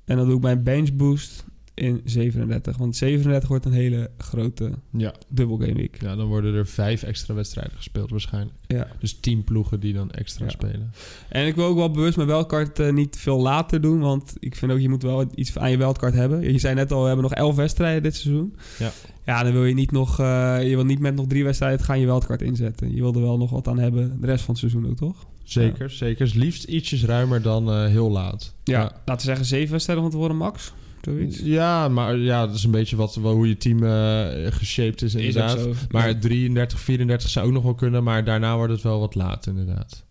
S1: En dan doe ik mijn bench boost in 37. Want 37 wordt een hele grote
S2: Ja.
S1: dubbel game week.
S2: ja, dan worden er vijf extra wedstrijden gespeeld waarschijnlijk.
S1: Ja.
S2: Dus tien ploegen die dan extra
S1: Ja.
S2: spelen.
S1: En ik wil ook wel bewust mijn wildcard eh, niet veel later doen. Want ik vind ook, je moet wel iets aan je wildcard hebben. Je zei net al, we hebben nog elf wedstrijden dit seizoen.
S2: Ja.
S1: Ja, dan wil je niet nog... eh, je wil niet met nog drie wedstrijden gaan je wildcard inzetten. Je wil er wel nog wat aan hebben de rest van het seizoen ook, toch?
S2: Zeker, zeker. Is liefst ietsjes ruimer dan eh, heel laat.
S1: Laten we zeggen zeven wedstrijden van tevoren, max. Zoiets.
S2: Ja, maar ja, dat is een beetje wat, wel hoe je team eh geshaped is
S1: Is
S2: inderdaad.
S1: ook zo.
S2: Maar
S1: Ja.
S2: 33, 34 zou ook nog wel kunnen, maar daarna wordt het wel wat laat inderdaad.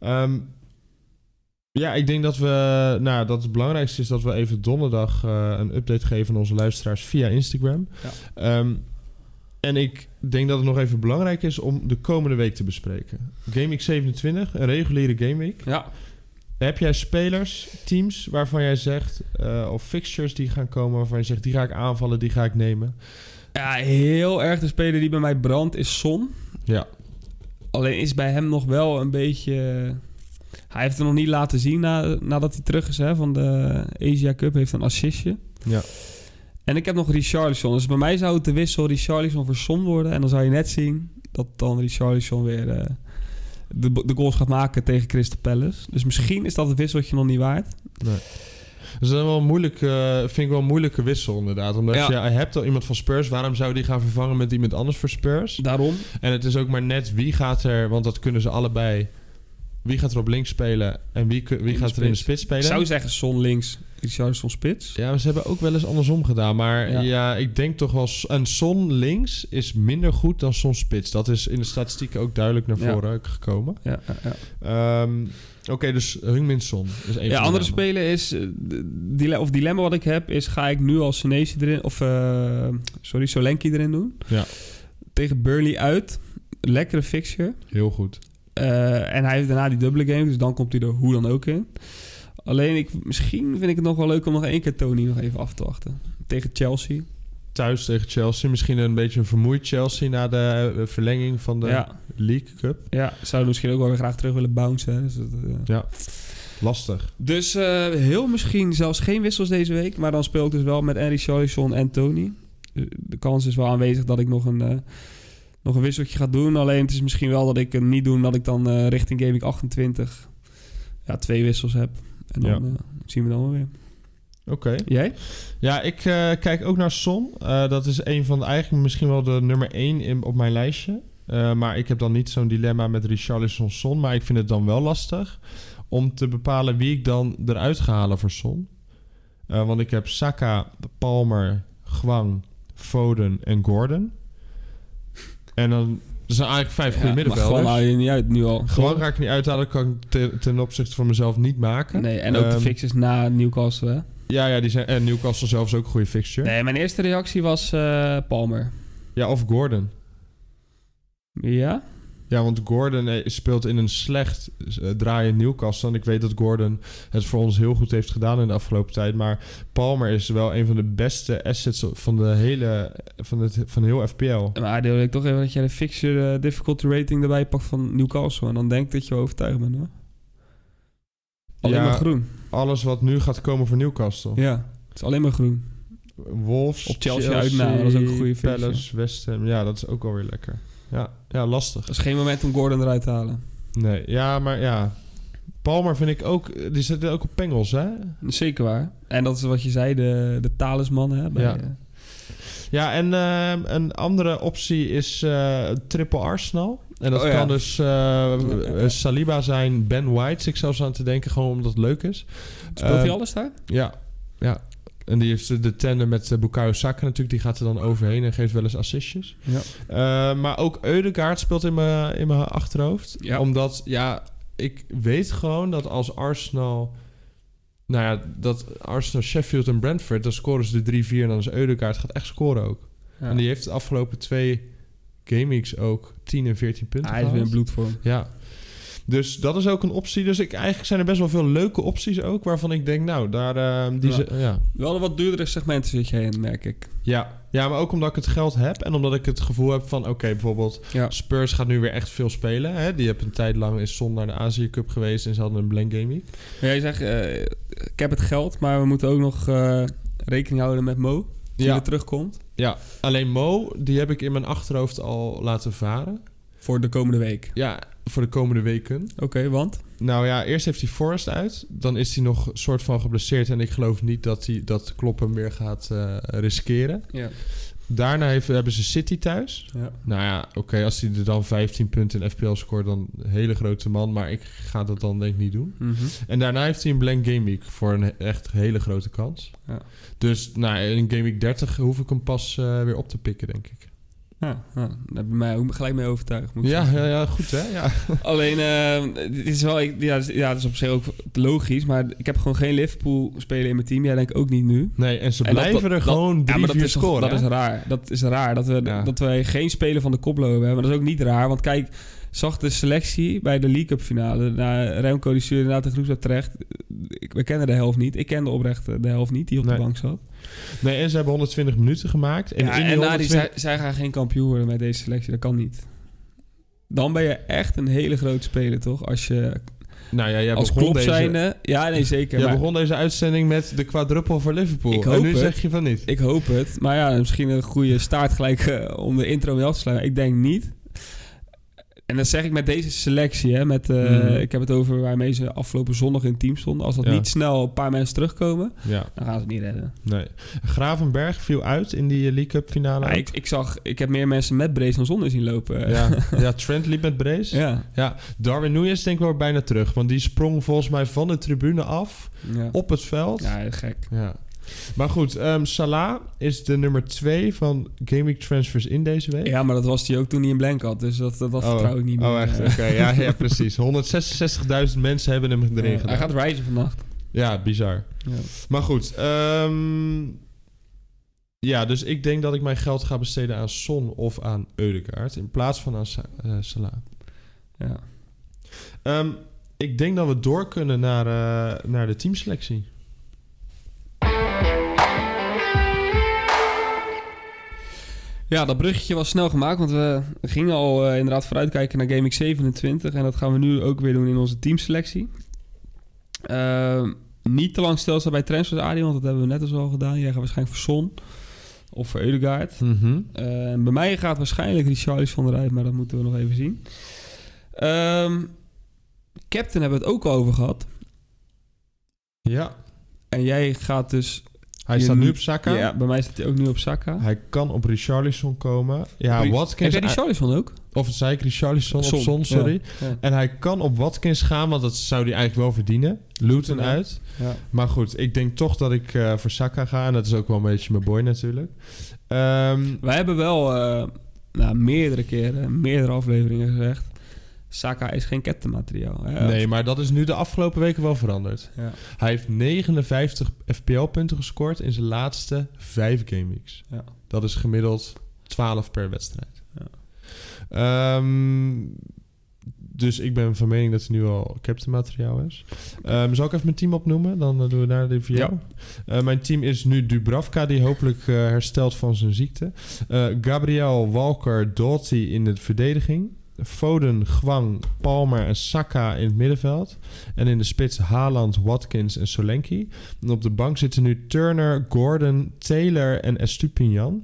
S2: Ehm, ja, ik denk dat we, nou, dat het belangrijkste is dat we even donderdag eh, een update geven aan onze luisteraars via Instagram.
S1: Ja.
S2: Ehm, en ik denk dat het nog even belangrijk is om de komende week te bespreken. Game Week 27, een reguliere Game Week.
S1: Ja.
S2: Heb jij spelers, teams waarvan jij zegt, eh, of fixtures die gaan komen waarvan je zegt, die ga ik aanvallen, die ga ik nemen?
S1: ja, heel erg de speler die bij mij brandt is Son.
S2: Ja.
S1: Alleen is bij hem nog wel een beetje... eh, Hij heeft het nog niet laten zien na, nadat hij terug is hè, van de Asia Cup. heeft een assistje.
S2: Ja.
S1: En ik heb nog Richarlison. Dus bij mij zou het de wissel Richarlison voor Son worden. En dan zou je net zien dat dan Richarlison weer eh, de, de goals gaat maken tegen Crystal Palace. Dus misschien is dat het wisseltje nog niet waard.
S2: Dus dat is wel een moeilijk, eh, vind ik wel een moeilijke wissel inderdaad. Omdat
S1: Ja.
S2: je, je hebt al iemand van Spurs. Waarom zou die gaan vervangen met iemand anders voor Spurs?
S1: Daarom.
S2: En het is ook maar net wie gaat er... Want dat kunnen ze allebei. Wie gaat er op links spelen en wie, ku-
S1: In
S2: wie
S1: de
S2: gaat er in de
S1: spits.
S2: spits
S1: Ik
S2: spelen?
S1: zou zeggen Son links, Richarlison spits.
S2: Ja, maar ze hebben ook wel eens andersom gedaan. Maar ja,
S1: Ja.
S2: ik denk toch wel... s- Een Son links is minder goed dan Son spits. Dat is in de statistieken ook duidelijk naar
S1: Ja.
S2: voren gekomen.
S1: Ja, ja, ja.
S2: Ehm, Oké, dus Heung-Min Son is een
S1: ja
S2: van de
S1: andere
S2: namen.
S1: spelen is... eh, de- dile- of dilemma wat ik heb is... Ga ik nu al Senesi erin... Of, eh, sorry, Solenki erin doen?
S2: Ja.
S1: Tegen Burnley uit. Lekkere fixture.
S2: Heel goed.
S1: Eh, en hij heeft daarna die dubbele game. Dus dan komt hij er hoe dan ook in. Alleen, ik, misschien vind ik het nog wel leuk om nog één keer Tony nog even af te wachten. Tegen Chelsea.
S2: thuis tegen Chelsea. Misschien een beetje een vermoeid Chelsea na de eh, verlenging van de
S1: Ja,
S2: League Cup.
S1: ja, zou misschien ook wel weer graag terug willen bouncen. hè. Dus, dat, eh.
S2: Lastig.
S1: Dus, eh, heel misschien zelfs geen wissels deze week. Maar dan speel ik dus wel met Henry Charlison en Tony. Eh, De kans is wel aanwezig dat ik nog een, eh, nog een wisseltje ga doen. Alleen het is misschien wel dat ik hem niet doe. Omdat ik dan eh, richting Gaming 28 ja, twee wissels heb. En dan
S2: Ja.
S1: eh, zien we dan wel weer.
S2: Oké.
S1: Jij?
S2: Ja, ik eh, kijk ook naar Son. Eh, dat is een van de, eigenlijk misschien wel de nummer één in, op mijn lijstje. Eh, maar ik heb dan niet zo'n dilemma met Richarlison Son. Maar ik vind het dan wel lastig om te bepalen wie ik dan eruit ga halen voor Son. Eh, want ik heb Saka, Palmer, Gwang, Foden en Gordon. En dan er zijn eigenlijk vijf goede middenvelders.
S1: Maar gewoon hou je niet uit nu al.
S2: Gewoon ga ik niet uithalen, dat kan ik te- ten opzichte van mezelf niet maken.
S1: Nee, en ook de
S2: Ehm,
S1: fixes na Newcastle. hè?
S2: Ja, ja die zijn, en Newcastle zelf is ook een goede fixture.
S1: Nee, mijn eerste reactie was eh, Palmer.
S2: Ja, of Gordon.
S1: Ja?
S2: Ja, want Gordon eh, speelt in een slecht eh, draaiend Newcastle. En ik weet dat Gordon het voor ons heel goed heeft gedaan in de afgelopen tijd. Maar Palmer is wel een van de beste assets van, de hele, van, het, van heel FPL.
S1: Maar dan wil ik toch even dat jij de fixture eh, difficulty rating erbij pakt van Newcastle. En dan denk ik dat je wel overtuigd bent hoor. Alleen
S2: Ja.
S1: maar groen.
S2: Alles wat nu gaat komen voor Newcastle.
S1: Ja, het is alleen maar groen.
S2: Wolves,
S1: Op Chelsea uitnamen, dat is ook een goede fixture.
S2: Palace, West Ham. Ja, dat is ook alweer lekker. Ja, ja lastig.
S1: Dat is geen moment om Gordon eruit te halen.
S2: Nee, ja, maar ja. Palmer vind ik ook... eh, Die zit ook op pengels, hè?
S1: Dat is Zeker waar. En dat is wat je zei, de, de talisman. Hè, bij,
S2: Ja.
S1: eh,
S2: Ja, en ehm, een andere optie is eh, triple Arsenal. En dat
S1: Oh, ja.
S2: kan dus eh, eh, Saliba zijn, Ben White. zit Ik zelfs aan te denken, gewoon omdat het leuk is.
S1: speelt hij
S2: Ehm,
S1: alles daar?
S2: Ja, ja. En die heeft de tandem met eh, Bukayo Saka natuurlijk. Die gaat er dan overheen en geeft wel eens assistjes.
S1: Ja.
S2: Eh, maar ook Eudegaard speelt in mijn in mijn achterhoofd.
S1: Ja.
S2: Omdat, ja, ik weet gewoon dat als Arsenal... Nou ja, dat Arsenal, Sheffield en Brentford... dan scoren ze de 3-4 en dan is Eudegaard gaat echt scoren ook.
S1: Ja.
S2: En die heeft de afgelopen twee gameweeks ook 10 en 14 punten
S1: hij is weer in
S2: gehaald.
S1: bloedvorm.
S2: Ja. Dus dat is ook een optie. Dus ik, eigenlijk zijn er best wel veel leuke opties ook... waarvan ik denk, nou, daar... eh, die
S1: Ja.
S2: ze- ja.
S1: Wel een wat duurdere segmenten zit jij in, merk ik.
S2: Ja. ja, maar ook omdat ik het geld heb en omdat ik het gevoel heb van... oké, bijvoorbeeld
S1: Ja.
S2: Spurs gaat nu weer echt veel spelen. Hè? Die hebben een tijd lang is zon naar de Azië Cup geweest en ze hadden een blank game week.
S1: Maar jij zegt, eh, ik heb het geld, maar we moeten ook nog eh, rekening houden met Mo. Die
S2: Ja.
S1: weer terugkomt
S2: Ja, alleen Mo, die heb ik in mijn achterhoofd al laten varen.
S1: voor de komende week.
S2: Ja, voor de komende weken.
S1: Oké, want?
S2: Nou ja, eerst heeft hij Forrest uit. Dan is hij nog soort van geblesseerd. En ik geloof niet dat hij dat kloppen meer gaat eh, riskeren.
S1: Ja.
S2: Daarna heeft, hebben ze City thuis.
S1: Ja.
S2: Nou ja, oké, als hij er dan 15 punten in FPL scoort, dan een hele grote man. Maar ik ga dat dan denk ik niet doen.
S1: Mhm.
S2: En daarna heeft hij een blank game week voor een he- echt hele grote kans.
S1: Ja.
S2: Dus nou, in game week 30 hoef ik hem pas eh, weer op te pikken, denk ik.
S1: Ja, ja, daar heb je mij ook gelijk mee overtuigd. Moet ik
S2: Ja,
S1: zeggen.
S2: ja, ja, goed hè? Ja.
S1: Alleen, eh, dit is wel, ik- ja, dit is- ja, dat is op zich ook logisch. Maar ik heb gewoon geen Liverpool spelen in mijn team. Jij denkt ook niet nu.
S2: Nee, en ze
S1: En dat-
S2: blijven er
S1: dat-
S2: gewoon
S1: Ja,
S2: drie,
S1: maar dat
S2: vier
S1: is,
S2: scoren.
S1: dat
S2: hè?
S1: is raar. Dat is raar dat, we,
S2: Ja.
S1: dat wij geen speler van de koploper hebben. Dat is ook niet raar. Want kijk, zag de selectie bij de League Cup finale. Nou, Remco die stuurde inderdaad de groepsapp terecht. Ik, we kennen de helft niet. Ik kende oprecht eh, de helft niet die op
S2: Nee.
S1: de bank zat.
S2: Nee, en ze hebben 120 minuten gemaakt. En,
S1: En, ja,
S2: in die
S1: en Nadi
S2: 120
S1: zei, zij gaan geen kampioen worden met deze selectie. Dat kan niet. Dan ben je echt een hele grote speler, toch? Als je
S2: Nou ja, jij
S1: als
S2: begon,
S1: klop
S2: deze,
S1: zijnde... Ja, nee, zeker.
S2: jij
S1: maar
S2: begon deze uitzending met de quadruppel voor Liverpool.
S1: Ik
S2: en
S1: hoop
S2: nu
S1: het.
S2: zeg je van niet.
S1: Ik hoop het. Maar ja, misschien een goede staart gelijk eh, om de intro mee af te sluiten. Ik denk niet. En dat zeg ik met deze selectie. Hè, met, eh,
S2: Mhm.
S1: Ik heb het over waarmee ze afgelopen zondag in het team stonden. Als dat
S2: Ja.
S1: niet snel een paar mensen terugkomen,
S2: Ja,
S1: dan gaan ze het niet redden.
S2: nee. Gravenberg viel uit in die eh, League Cup finale.
S1: Maar ik, ik, zag, ik heb meer mensen met Brace dan zonder zien lopen. (laughs)
S2: ja, ja, Trent liep met Brace. Ja.
S1: ja.
S2: Darwin Nunez denk ik wel bijna terug. Want die sprong volgens mij van de tribune af
S1: ja.
S2: op het veld. Ja.
S1: Ja, gek.
S2: Maar goed, ehm, Salah is de nummer 2 van Gaming Transfers in deze week.
S1: Ja, maar dat was die ook toen hij een blank had. Dus dat, dat, dat vertrouw ik niet meer. eh.
S2: Oh, echt? Oké, ja,
S1: (laughs)
S2: ja, precies. 166.000 mensen hebben hem (laughs) erin
S1: Eh,
S2: gedaan.
S1: hij gaat reizen vannacht.
S2: Ja, bizar.
S1: Ja.
S2: Maar goed, ehm, ja, dus ik denk dat ik mijn geld ga besteden aan Son of aan Eudegaard in plaats van aan Sa eh, Salah.
S1: Ja.
S2: Ehm, ik denk dat we door kunnen naar, eh, naar de teamselectie.
S1: Ja, dat bruggetje was snel gemaakt, want we gingen al eh, inderdaad vooruitkijken naar GameX 27. En dat gaan we nu ook weer doen in onze teamselectie. Ehm, niet te lang stilstaan bij transfers, Adi, want dat hebben we net als al gedaan. Jij gaat waarschijnlijk voor Son of voor Eudegaard.
S2: Mhm.
S1: Eh, bij mij gaat waarschijnlijk Richarlison eruit, maar dat moeten we nog even zien. Ehm, Captain hebben we het ook al over gehad.
S2: Ja,
S1: En jij gaat dus...
S2: hij
S1: Je
S2: staat nu
S1: moet-
S2: op Saka.
S1: Ja, bij mij staat hij ook nu op Saka.
S2: Hij kan op Richarlison komen. Ja,
S1: Ri- Heb
S2: Watkins.
S1: jij Richarlison ook?
S2: Of zei ik Richarlison
S1: Son,
S2: of Son, sorry.
S1: Ja.
S2: En hij kan op Watkins gaan, want dat zou hij eigenlijk wel verdienen. Luton
S1: Ja.
S2: uit.
S1: Ja.
S2: Maar goed, ik denk toch dat ik eh, voor Saka ga. En dat is ook wel een beetje mijn boy natuurlijk. Ehm,
S1: Wij hebben wel eh, nou, meerdere keren, meerdere afleveringen gezegd... Saka is geen captainmateriaal. hè?
S2: Nee, maar dat is nu de afgelopen weken wel veranderd.
S1: Ja.
S2: Hij heeft 59 FPL-punten gescoord in zijn laatste vijf gameweeks.
S1: Ja.
S2: Dat is gemiddeld 12 per wedstrijd.
S1: Ja.
S2: Ehm, dus ik ben van mening dat hij nu al captain materiaal is. Ehm, zal ik even mijn team opnoemen? Dan eh, doen we daar de review.
S1: Ja.
S2: Eh, mijn team is nu Dubravka, die hopelijk eh, herstelt van zijn ziekte. Eh, Gabriel, Walker, Doughty in de verdediging. Foden, Gwang, Palmer en Saka in het middenveld. En in de spits Haaland, Watkins en Solenki. En op de bank zitten nu Turner, Gordon, Taylor en Estupinian.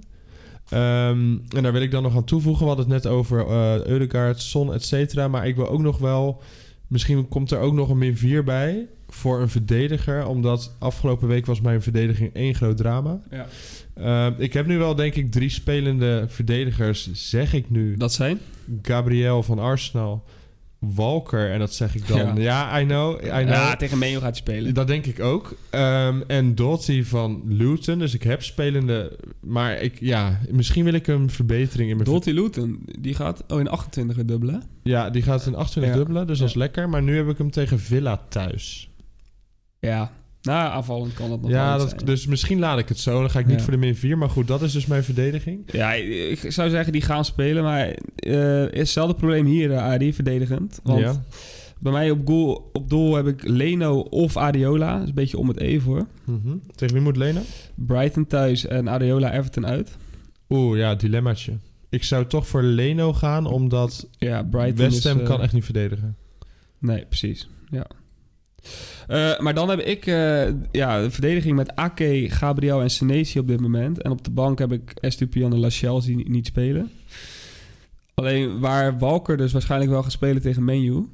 S2: Ehm, en daar wil ik dan nog aan toevoegen. We hadden het net over eh Eudegaard, Son, et cetera. Maar ik wil ook nog wel... Misschien komt er ook nog een min 4 bij voor een verdediger. Omdat afgelopen week was mijn verdediging één groot drama.
S1: Ja.
S2: Ehm, ik heb nu wel denk ik drie spelende verdedigers, zeg ik nu.
S1: Dat zijn?
S2: Gabriel van Arsenal, Walker. En dat zeg ik dan. Ja,
S1: Ja.
S2: I know, I know.
S1: Ja, tegen Meo gaat hij spelen.
S2: dat denk ik ook. Ehm, en Doughty van Luton. Dus ik heb spelende... Maar ik, ja, misschien wil ik een verbetering in mijn...
S1: Dolty Luton, die gaat oh, in 28 weer dubbelen. hè?
S2: ja, die gaat een 28
S1: Ja.
S2: dubbelen. Dus dat is
S1: Ja.
S2: lekker. Maar nu heb ik hem tegen Villa thuis.
S1: Ja, nou, aanvallend kan dat nog wel
S2: ja,
S1: iets
S2: dat,
S1: zijn.
S2: dus misschien laad ik het zo. Dan ga ik niet
S1: Ja.
S2: voor de min 4. Maar goed, dat is dus mijn verdediging.
S1: Ja, ik zou zeggen die gaan spelen, maar eh, is hetzelfde probleem hier, eh, Adi, verdedigend. Want
S2: ja.
S1: bij mij op, goal, op doel heb ik Leno of Adiola. Dat is een beetje om het even hoor.
S2: Mhm. Tegen wie moet Lena?
S1: Brighton thuis en Adiola Everton uit.
S2: Oeh, ja, dilemmaatje. Ik zou toch voor Leno gaan, omdat
S1: Ja, Brighton
S2: West
S1: is,
S2: Ham
S1: eh,
S2: kan echt niet verdedigen.
S1: Nee, precies. Ja. Eh, maar dan heb ik eh, ja, de verdediging met Ake, Gabriel en Senesi op dit moment. En op de bank heb ik Estupian en Lachelle zien niet spelen. Alleen waar Walker dus waarschijnlijk wel gaat spelen tegen Menu,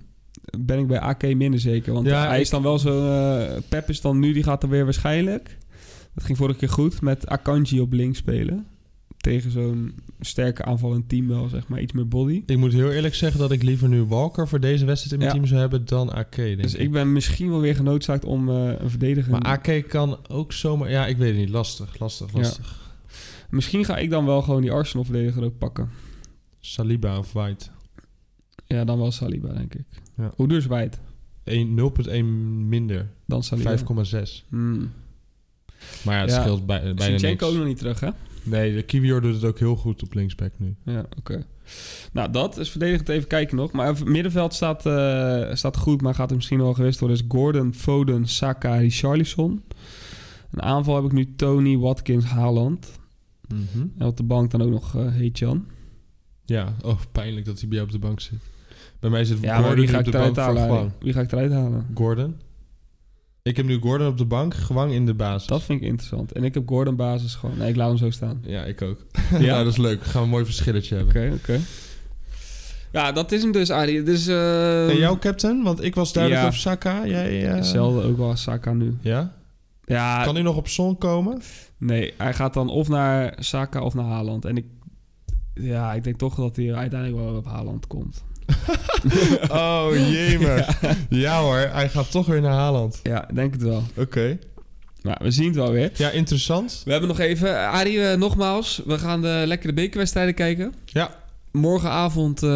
S1: ben ik bij Ake minder zeker. Want
S2: Ja,
S1: hij
S2: ik-
S1: is dan wel zo. eh, Pep is dan nu, die gaat er weer waarschijnlijk. Dat ging vorige keer goed met Akanji op links spelen. Tegen zo'n sterke aanvallend team wel, zeg maar. Iets meer body.
S2: Ik moet heel eerlijk zeggen dat ik liever nu Walker voor deze wedstrijd in mijn
S1: Ja.
S2: team zou hebben dan AK. Denk
S1: Dus ik
S2: ik.
S1: ben misschien wel weer genoodzaakt om eh, een verdediger...
S2: Maar AK kan ook zomaar... Ja, ik weet het niet. Lastig, lastig,
S1: Ja.
S2: lastig.
S1: Misschien ga ik dan wel gewoon die Arsenal-verdediger ook pakken.
S2: Saliba of White.
S1: Ja, dan wel Saliba, denk ik.
S2: Ja.
S1: Hoe duur is White?
S2: 1 0,1 minder.
S1: Dan Saliba.
S2: 5,6.
S1: Hmm.
S2: Maar ja, het
S1: Ja.
S2: scheelt bij, bijna niks.
S1: Zinchenko ook nog niet terug, hè?
S2: Nee, de Kiwior doet het ook heel goed op linksback nu.
S1: Ja, oké. Nou, dat is verdedigend even kijken nog. Maar het middenveld staat, eh, staat goed, maar gaat er misschien wel gewist worden. Dus Gordon, Foden, Saka, Richarlison. Een aanval heb ik nu Tony, Watkins, Haaland. En op de bank dan ook nog eh Heetjan.
S2: Ja, oh, pijnlijk dat hij bij jou op de bank zit. Bij mij zit
S1: Ja, maar
S2: Gordon
S1: wie
S2: nu
S1: ga
S2: op
S1: ik
S2: de bank
S1: eruit
S2: voor
S1: halen?
S2: Gwang.
S1: Arie? Wie ga ik eruit halen?
S2: Gordon. Ik heb nu Gordon op de bank, Gewang in de basis.
S1: Dat vind ik interessant. En ik heb Gordon basis gewoon. Nee, ik laat hem zo staan.
S2: Ja, ik ook.
S1: Ja.
S2: (laughs) Ja, dat is leuk. Gaan we een mooi verschilletje hebben.
S1: Oké, oké. Ja, dat is hem dus, Arie. Dus, eh
S2: En jouw captain? Want ik was duidelijk
S1: Ja.
S2: op Saka. Jij, eh,
S1: Hetzelfde Ah. ook wel als Saka nu.
S2: Ja?
S1: Ja,
S2: Kan hij nog op Son komen?
S1: nee, hij gaat dan of naar Saka of naar Haaland. En ik, ja, ik denk toch dat hij uiteindelijk wel op Haaland komt.
S2: Oh, jemig. (laughs) ja. hoor, hij gaat toch weer naar Haaland.
S1: Ja, ik denk het wel.
S2: Oké.
S1: Nou, we zien het wel weer.
S2: Ja, interessant.
S1: We hebben nog even, Arie, eh, nogmaals, we gaan de lekkere bekerwedstrijden kijken.
S2: Ja.
S1: Morgenavond, eh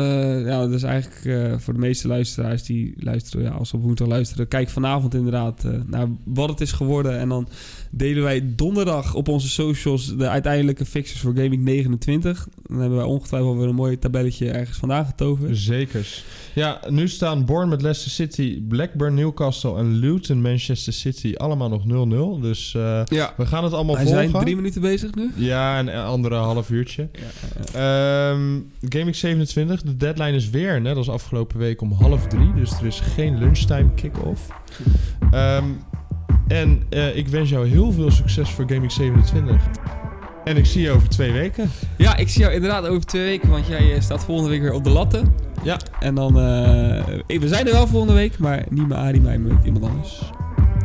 S1: ja, dat is eigenlijk eh, voor de meeste luisteraars die luisteren, ja, als ze op woensdag luisteren, kijk vanavond inderdaad eh, naar wat het is geworden. En dan delen wij donderdag op onze socials de uiteindelijke fixes voor Gaming 29. Dan hebben wij ongetwijfeld weer een mooi tabelletje ergens vandaan getoverd.
S2: Zekers. Ja, nu staan Bourne met Leicester City, Blackburn, Newcastle en Luton, Manchester City allemaal nog 0-0. Dus eh,
S1: Ja,
S2: we gaan het allemaal
S1: wij
S2: volgen.
S1: zijn drie minuten bezig nu.
S2: Ja, een andere half uurtje.
S1: Ja,
S2: Ehm Gaming 27, de deadline is weer, net als afgelopen week, om half drie. Dus er is geen lunchtime kick-off. Ehm, en eh, ik wens jou heel veel succes voor Gaming 27. En ik zie je over twee weken.
S1: ja, ik zie jou inderdaad over twee weken, want jij eh, staat volgende week weer op de latten.
S2: Ja.
S1: En dan, eh, we zijn er wel volgende week, maar niet met Arie, maar met iemand anders.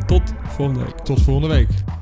S1: Tot volgende week.
S2: Tot volgende week.